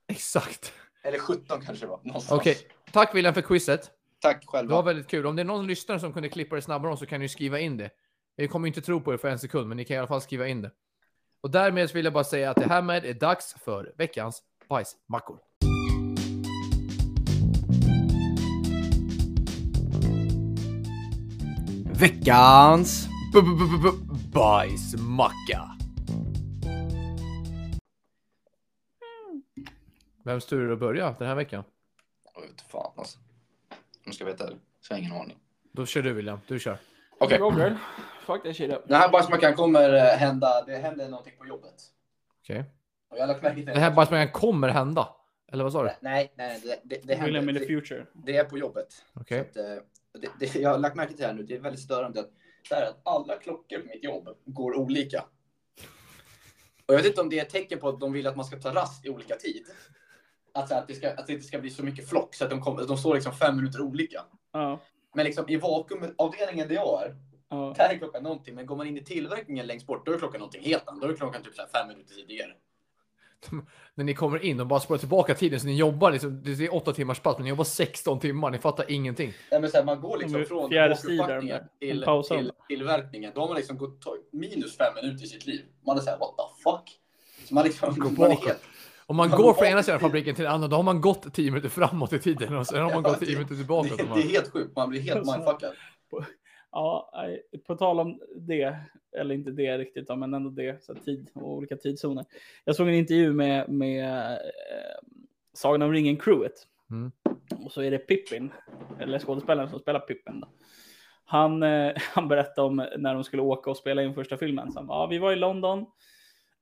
Speaker 2: Exakt.
Speaker 3: Eller 17 kanske det var. Någonstans.
Speaker 2: Okej, tack William för quizet.
Speaker 3: Tack
Speaker 2: Det var
Speaker 3: själva.
Speaker 2: väldigt kul. Om det är någon lyssnare som kunde klippa det snabbare om så kan ni skriva in det. Jag kommer ju inte tro på er för en sekund, men ni kan i alla fall skriva in det. Och därmed så vill jag bara säga att det härmed är dags för veckans bajsmackor.
Speaker 3: Veckans
Speaker 2: B- b- b- b- Bajsmacka. Vems tur är det att börja den här veckan?
Speaker 3: Jag vet fan alltså. Om ska veta det så har jag ingen aning.
Speaker 2: Då kör du William, du kör.
Speaker 3: Okej.
Speaker 1: Roger. Fuck that shit up.
Speaker 3: Den här bajsmackan kommer eh, hända. Det händer någonting på jobbet.
Speaker 2: Okej.
Speaker 3: Och jag har lagt märke till
Speaker 2: Det här bajsmackan kommer hända. Eller vad sa du?
Speaker 3: Nej, nej, det, det, det
Speaker 1: William
Speaker 3: händer. typ.
Speaker 1: in the
Speaker 3: Det,
Speaker 1: future.
Speaker 3: det är på jobbet.
Speaker 2: Okej.
Speaker 3: Så att, eh, det, det, jag har lagt märke till det här nu. Det är väldigt störande att, det här, att alla klockor på mitt jobb går olika. Och jag vet inte om det är ett tecken på att de vill att man ska ta rast i olika tid. Att, så här, att, det, ska, att det inte ska bli så mycket flock så att de, kommer- de står liksom fem minuter olika.
Speaker 1: Ja.
Speaker 3: Men liksom i vakuumavdelningen där jag är,
Speaker 1: ja.
Speaker 3: Där är klockan någonting, men går man in i tillverkningen längst bort, då är klockan någonting helt annat. Då är klockan typ så här fem minuter tidigare.
Speaker 2: När ni kommer in och bara sparar tillbaka tiden så ni jobbar liksom, det är åtta timmars pass men ni jobbar 16 timmar, ni fattar ingenting.
Speaker 3: Nej, men så här, man går liksom
Speaker 1: Mm,
Speaker 3: från
Speaker 1: fjärrsidan
Speaker 3: bakuppbackningen
Speaker 1: där.
Speaker 3: till,
Speaker 1: Pausen.
Speaker 3: till tillverkningen. Då har man liksom gått tagit minus fem minuter i sitt liv. Man är så här, what the fuck? Så man liksom
Speaker 2: Går
Speaker 3: man är
Speaker 2: bakåt.
Speaker 3: helt-
Speaker 2: Om man
Speaker 3: Man
Speaker 2: går
Speaker 3: går
Speaker 2: från ena
Speaker 3: bakåt i
Speaker 2: sidan
Speaker 3: tiden.
Speaker 2: fabriken till den andra, då har man gått 10 minuter framåt i tiden och sen har man
Speaker 3: Ja,
Speaker 2: gått 10
Speaker 3: det-
Speaker 2: minuter
Speaker 3: det,
Speaker 2: tillbaka.
Speaker 3: det är helt sjukt, man blir helt
Speaker 1: Alltså.
Speaker 3: mindfuckad.
Speaker 1: Ja, nej, på tal om det, eller inte det riktigt, då, men ändå det, så här tid och olika tidszoner. Jag såg en intervju med, med eh, Sagan om ringen-crewet.
Speaker 2: Mm.
Speaker 1: Och så är det Pippin, eller skådespelaren som spelar Pippin. Då. Han, eh, han berättade om när de skulle åka och spela in första filmen. Så han, bara, ja, vi var i London,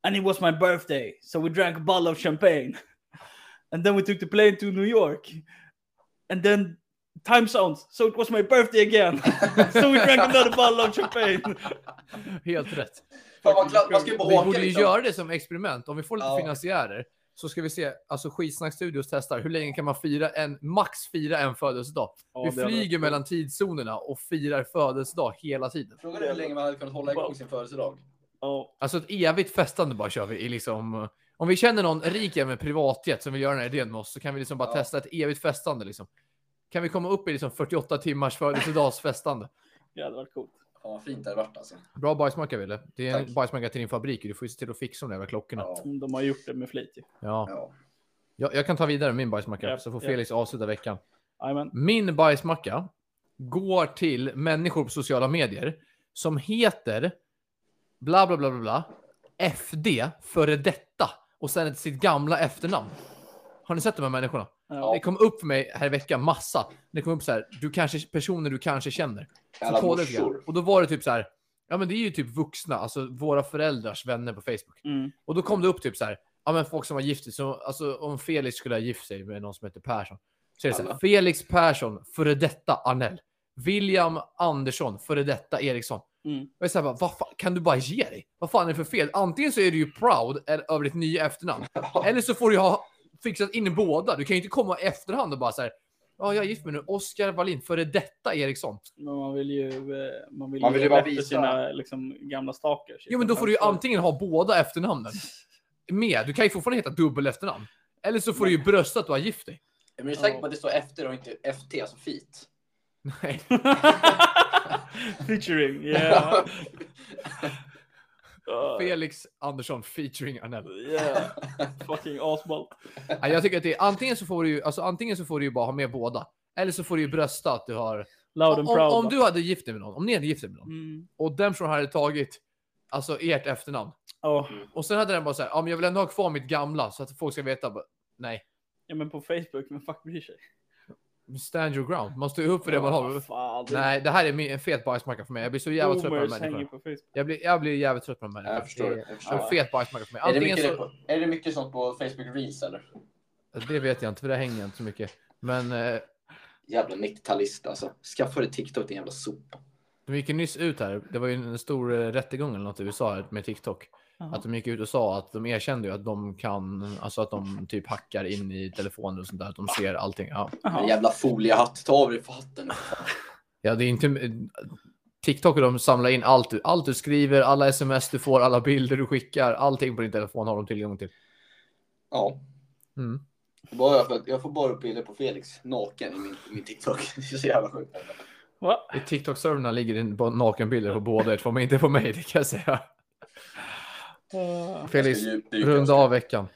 Speaker 1: and it was my birthday, so we drank a bottle of champagne. And then we took the plane to New York. And then time zones, so it was my birthday again. So we drank another bottle of champagne.
Speaker 2: Helt rätt.
Speaker 3: Fan, man, glad, man ska ju bara
Speaker 2: Vi
Speaker 3: åka
Speaker 2: borde ju
Speaker 3: liksom.
Speaker 2: göra det som experiment. Om vi får lite
Speaker 3: Ja.
Speaker 2: finansiärer så ska vi se, alltså Skitsnackstudios testar, hur länge kan man fira en, max fira en födelsedag? vi flyger mellan tidszonerna och firar födelsedag hela tiden.
Speaker 3: Frågan är hur länge man hade kunnat hålla igång sin födelsedag.
Speaker 1: Ja,
Speaker 2: Alltså ett evigt festande bara kör vi i liksom. Om vi känner någon rik jävel med privatjet som vill göra den här idén med oss så kan vi liksom bara
Speaker 3: Ja.
Speaker 2: testa ett evigt festande liksom. Kan vi komma upp i liksom 48 timmars födelsedags festande?
Speaker 1: det hade varit coolt.
Speaker 3: Fan vad fint det hade varit alltså.
Speaker 2: Bra bajsmacka Wille. Det är en
Speaker 3: Tack.
Speaker 2: bajsmacka till din fabrik. Du får ju se till att fixa de där jävla klockorna.
Speaker 3: Ja.
Speaker 1: De har gjort det med flit. ju.
Speaker 2: Ja.
Speaker 3: Ja.
Speaker 2: Jag, jag kan ta vidare min bajsmacka,
Speaker 1: Ja,
Speaker 2: så får
Speaker 1: ja.
Speaker 2: Felix avsluta veckan.
Speaker 1: Jajamän.
Speaker 2: Min bajsmacka går till människor på sociala medier som heter bla bla bla bla bla FD före detta och sen ett- sitt gamla efternamn. Har ni sett de här människorna?
Speaker 1: Ja.
Speaker 2: Det kom upp för mig här i veckan massa. Det kom upp så här, du kanske, personer du kanske känner. Så
Speaker 3: Alla
Speaker 2: kollade jag lite grann.
Speaker 3: morsor.
Speaker 2: Och då var det typ så här, ja men det är ju typ vuxna, alltså våra föräldrars vänner på Facebook.
Speaker 1: Mm.
Speaker 2: Och då kom det upp typ så här, ja men folk som har gift sig, så, alltså om Felix skulle ha gift sig med någon som heter Persson. Så är det så här,
Speaker 3: Alla.
Speaker 2: Felix Persson, före detta Arnell. William Andersson, före detta Eriksson.
Speaker 1: Mm.
Speaker 2: Och jag är så här, bara, vad fan, kan du bara ge dig? Vad fan är det för fel? Antingen så är du ju proud eller- över ditt nya efternamn. Eller så får du ha fixat in båda. Du kan ju inte komma i efterhand och bara så här, ja jag är gift med nu, Oskar Wallin, före detta Eriksson.
Speaker 1: Men man vill ju, eh, man vill
Speaker 3: Man
Speaker 1: ju
Speaker 3: vill ju bara
Speaker 1: rätta
Speaker 3: visa-
Speaker 1: sina liksom, gamla liksom. Alltså- stakers.
Speaker 2: Jo, men då får du ju antingen ha båda efternamnen med. Du kan ju fortfarande heta dubbel efternamn. Eller så får du ju brösta att du har gift dig.
Speaker 3: Men du är säker på att det står efter och inte FT, alltså fit?
Speaker 2: Nej.
Speaker 1: Featuring, yeah. Ah,
Speaker 2: Felix Andersson featuring Arnell.
Speaker 1: yeah. Fucking asballt.
Speaker 2: Nej, Jag tycker att det är, antingen så får du ju, alltså antingen så får du ju bara ha med båda. Eller så får du ju brösta att du har...
Speaker 1: Loud
Speaker 2: Om,
Speaker 1: and
Speaker 2: om,
Speaker 1: proud.
Speaker 2: om
Speaker 1: va?
Speaker 2: du hade gift dig med någon, om ni hade gift er med någon
Speaker 1: Mm.
Speaker 2: och den personen hade tagit alltså ert efternamn
Speaker 1: Ja,
Speaker 2: och sen hade den bara så här, ja men jag vill ändå ha kvar mitt gamla så att folk ska veta. Bara, Nej,
Speaker 1: ja, men på Facebook, men fuck bryr sig.
Speaker 2: stand your ground. Man står ju upp för det man har.
Speaker 1: Vad Fan, det är
Speaker 2: Nej, det här är min- en fet bajsmacka för mig. Jag blir så jävla trött på de
Speaker 1: boomers
Speaker 2: här
Speaker 1: hänger
Speaker 2: människorna.
Speaker 1: på Facebook.
Speaker 2: Jag blir, jag blir jävligt trött på de här människorna.
Speaker 3: Jag förstår.
Speaker 2: Det
Speaker 3: Jag
Speaker 2: är
Speaker 3: förstår.
Speaker 2: en fet bajsmacka för mig.
Speaker 3: Är det,
Speaker 2: Antingen
Speaker 3: mycket,
Speaker 2: så,
Speaker 3: är det mycket sånt på Facebook Reels eller?
Speaker 2: det vet jag inte, för det hänger jag inte så mycket. Men eh,
Speaker 3: Jävla 90-talist alltså. Skaffa dig TikTok din jävla sopa.
Speaker 2: de gick ju nyss ut här. Det var ju en stor eh, rättegång eller något i USA här med TikTok.
Speaker 1: Jaha.
Speaker 2: Att de gick ut och sa att de erkände ju att de kan, alltså att de typ hackar in i telefoner och sånt där. Att de ser allting. Ja,
Speaker 3: En
Speaker 1: Jaha.
Speaker 3: jävla foliehatt. Ta av dig för hatten.
Speaker 2: ja det är inte... TikTok och de samlar in allt du, allt du skriver, alla sms du får, alla bilder du skickar, allting på din telefon har de tillgång till.
Speaker 3: Ja.
Speaker 2: Mm.
Speaker 3: Bara för att jag får bara upp bilder på Felix naken i min, i min TikTok. Det är så jävla sjukt.
Speaker 1: Va?
Speaker 2: I TikTok-serverna ligger det bara nakenbilder på båda er två, men inte på mig, det kan jag säga.
Speaker 1: Eh,
Speaker 2: Felix,
Speaker 3: Jag ska djupdyka.
Speaker 2: runda av veckan.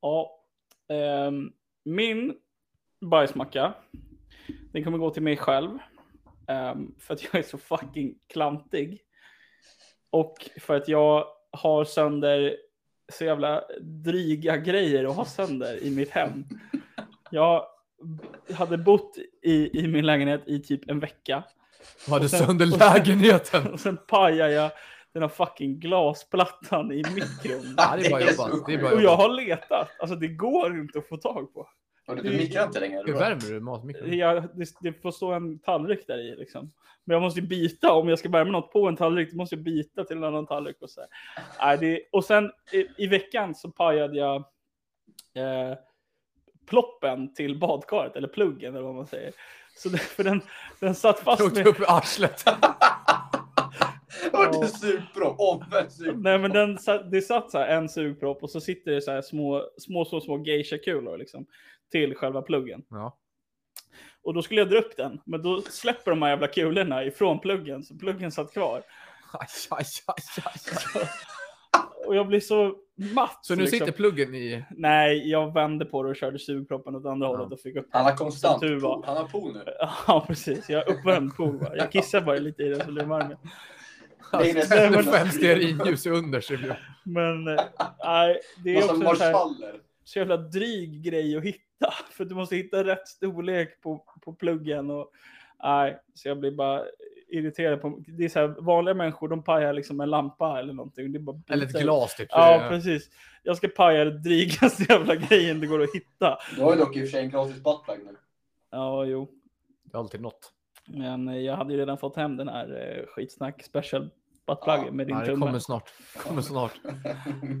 Speaker 1: Ja. Ehm, min bajsmacka, den kommer gå till mig själv. Ehm, för att jag är så fucking klantig. Och för att jag har sönder så jävla dryga grejer att ha sönder i mitt hem. Jag hade bott i, i min lägenhet i typ en vecka.
Speaker 2: Var du
Speaker 1: Och sen-
Speaker 2: sönder
Speaker 1: och sen-
Speaker 2: lägenheten?
Speaker 1: Och sen pajade jag den här fucking glasplattan i mikron.
Speaker 2: Ja, det är bara
Speaker 3: Det är
Speaker 2: jobbat.
Speaker 3: så
Speaker 2: Det är
Speaker 1: Och
Speaker 2: bara
Speaker 1: jag
Speaker 2: jobbat.
Speaker 1: har letat. Alltså det går inte att få tag på.
Speaker 3: Och du, du mikrar inte längre?
Speaker 2: Hur
Speaker 3: eller vad?
Speaker 2: värmer du matmikron?
Speaker 1: Jag, det, det får stå en tallrik där i liksom. Men jag måste ju byta om jag ska värma något på en tallrik. Då måste jag byta till en annan tallrik och så. här. Nej, det, och sen i, i veckan så pajade jag eh, ploppen till badkaret eller pluggen eller vad man säger. Så det, för den, den satt fast
Speaker 2: Tog
Speaker 1: med,
Speaker 2: upp i arslet.
Speaker 3: Vart det surpropp? Omvänd surpropp.
Speaker 1: Nej, men den satt, det satt så här en sugpropp och så sitter det så här små, små, små, små geisha-kulor liksom till själva pluggen.
Speaker 2: Ja.
Speaker 1: Och då skulle jag dra upp den, men då släpper de här jävla kulorna ifrån pluggen, så pluggen satt kvar.
Speaker 2: Aj, aj, aj, aj, aj.
Speaker 1: Och jag blir så matt.
Speaker 2: Så nu
Speaker 1: liksom.
Speaker 2: sitter pluggen i...
Speaker 1: Nej, jag vände på det och körde sugproppen åt andra hållet och fick upp
Speaker 3: Han har
Speaker 1: Som tur
Speaker 3: konstant
Speaker 1: var.
Speaker 3: pool. Han har pool nu.
Speaker 1: Ja, precis. Jag har uppvärmd pool. va. Jag kissar bara lite i den så blir det varm.
Speaker 3: Nej, det är
Speaker 2: Tänder
Speaker 3: så-
Speaker 2: fem stearinljus under så det blir...
Speaker 1: Men eh, nej, det är
Speaker 3: Massa
Speaker 1: också så här,
Speaker 3: marschaller.
Speaker 1: så jävla dryg grej att hitta. För du måste hitta rätt storlek på, på pluggen. Och, nej, så jag blir bara irriterad. På, det är så här, vanliga människor de pajar liksom en lampa eller någonting. Det är bara att
Speaker 2: Eller ett
Speaker 1: byta ut.
Speaker 2: glas typ.
Speaker 1: Ja, precis. Jag ska paja den drygaste jävla grejen det går att hitta.
Speaker 3: Du har ju dock i och för sig en gratis buttplug nu.
Speaker 1: Ja, jo.
Speaker 2: Det är alltid något.
Speaker 1: Men eh, jag hade ju redan fått hem den här eh, skitsnack special
Speaker 3: Ja,
Speaker 1: buttpluggen med din
Speaker 2: Nej, det
Speaker 1: tumme.
Speaker 2: kommer snart. kommer snart.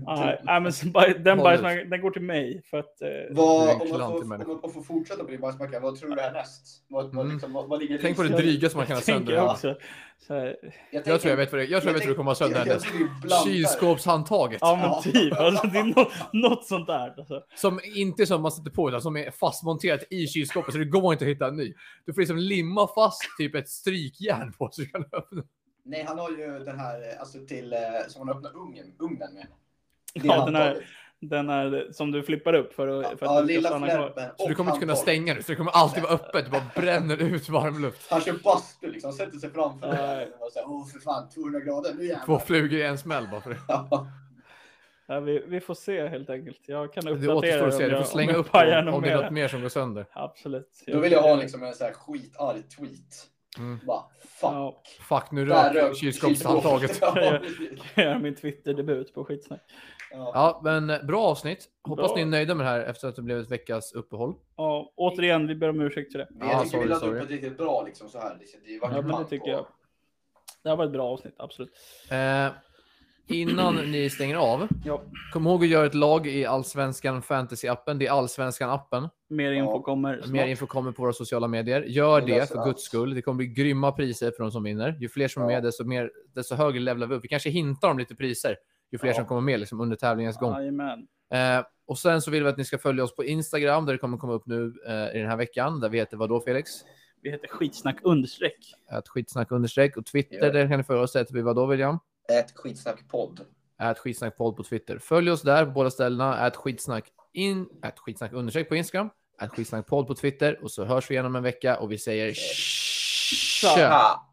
Speaker 1: Nej, nej, men så baj- den,
Speaker 2: Håll ut.
Speaker 1: bajsmackan, den går till mig för att... Eh,
Speaker 2: Du är
Speaker 3: Vad,
Speaker 2: en
Speaker 3: om, man
Speaker 2: klantig
Speaker 3: får, om,
Speaker 2: människa.
Speaker 3: man, om man får fortsätta på din bajsmacka, vad tror du är näst? Vad, vad,
Speaker 2: Mm.
Speaker 3: liksom, vad, vad ligger
Speaker 2: Tänk på det
Speaker 3: liksom-
Speaker 2: dryga som man kan ha
Speaker 1: jag
Speaker 2: sönder.
Speaker 1: tänker
Speaker 2: Ja.
Speaker 1: också. Så här,
Speaker 2: Jag tror jag vet vad det Jag tror jag vet hur det kommer att sönder.
Speaker 3: Jag
Speaker 2: härnäst.
Speaker 3: tror vi blandar.
Speaker 2: Kylskåpshandtaget.
Speaker 1: ja, men typ. Alltså, det är något, något sånt där. Alltså.
Speaker 2: Som inte är som man sätter på utan som är fastmonterat i kylskåpet så det går inte att hitta en ny. Du får liksom limma fast typ ett strykjärn på så du kan öppna.
Speaker 3: Nej, han har ju den här, eh, alltså till, eh, som han öppnar ugnen, ugnen med. Det
Speaker 1: Ja, den här-
Speaker 3: handtaget.
Speaker 1: Den här eh, som du flippar upp för att, för att
Speaker 3: Ja,
Speaker 1: den ska
Speaker 3: lilla
Speaker 1: stanna kvar.
Speaker 3: flärpen
Speaker 2: Så du
Speaker 3: och
Speaker 2: kommer inte kunna
Speaker 3: handtag.
Speaker 2: stänga det, så det kommer alltid vara öppet. Du bara bränner ut varmluft.
Speaker 3: Han kör bastu liksom, sätter sig framför
Speaker 1: Ja.
Speaker 3: den och säger åh för fan 200 grader, nu jävlar.
Speaker 2: Två flugor i en smäll bara för det.
Speaker 3: Ja.
Speaker 1: Ja, vi, vi får se helt enkelt. Jag kan
Speaker 2: Det
Speaker 1: uppdatera
Speaker 2: återstår att
Speaker 1: om
Speaker 2: se. Du
Speaker 1: jag-
Speaker 2: får
Speaker 1: om
Speaker 2: slänga
Speaker 1: jag
Speaker 2: upp
Speaker 1: pajar
Speaker 2: om,
Speaker 1: något
Speaker 2: om det
Speaker 1: mer.
Speaker 2: är något mer som går sönder.
Speaker 1: Absolut.
Speaker 3: Då vill jag ha liksom en sån här skitarg tweet.
Speaker 2: Mm.
Speaker 3: Bara fuck.
Speaker 1: Ja,
Speaker 2: Fuck, nu
Speaker 3: Där
Speaker 2: rök kylskåpshandtaget.
Speaker 3: Ja, precis.
Speaker 1: göra min Twitter-debut på skitsnack.
Speaker 3: Ja.
Speaker 2: Ja, men eh, bra avsnitt. Hoppas
Speaker 1: Bra.
Speaker 2: ni är nöjda med det här efter att det blev ett veckas uppehåll.
Speaker 1: Ja, återigen, vi ber om ursäkt för det.
Speaker 3: Men Jag
Speaker 2: Ja,
Speaker 3: tycker vi
Speaker 2: sorry,
Speaker 3: laddade
Speaker 2: sorry.
Speaker 3: upp ett riktigt bra liksom så här. liksom. Det var
Speaker 1: Ja, men det tycker jag. Det här var ett bra avsnitt, absolut.
Speaker 2: Eh, innan ni stänger av,
Speaker 1: Ja.
Speaker 2: kom ihåg att göra ett lag i Allsvenskan Fantasy-appen. Det är Allsvenskan-appen.
Speaker 1: Mer info
Speaker 3: Ja.
Speaker 1: kommer snart.
Speaker 2: Mer info kommer på våra sociala medier. Gör
Speaker 3: Vi
Speaker 2: det
Speaker 3: löser
Speaker 2: för
Speaker 3: allt.
Speaker 2: guds skull. Det kommer bli grymma priser för de som vinner. Ju fler som är
Speaker 3: Ja.
Speaker 2: med, desto, mer, desto högre levlar vi upp. Vi kanske hintar om lite priser ju fler
Speaker 3: Ja.
Speaker 2: som kommer med liksom, under tävlingens gång.
Speaker 1: Jajamän.
Speaker 2: Eh, och sen så vill vi att ni ska följa oss på Instagram där det kommer komma upp nu eh, i den här veckan. Där vi heter vadå Felix?
Speaker 1: Vi heter skitsnack understreck.
Speaker 2: Att skitsnack understreck och Twitter
Speaker 3: Ja.
Speaker 2: där kan ni följa oss. Där heter vi vadå William?
Speaker 3: Ett skitsnackpodd.
Speaker 2: Ät skitsnackpodd på Twitter. Följ oss där på båda ställena. Ät skitsnack in, ät skitsnack understreck på Instagram. Ät skitsnackpodd på Twitter och så hörs vi igen om en vecka och vi säger tja.
Speaker 3: Ah.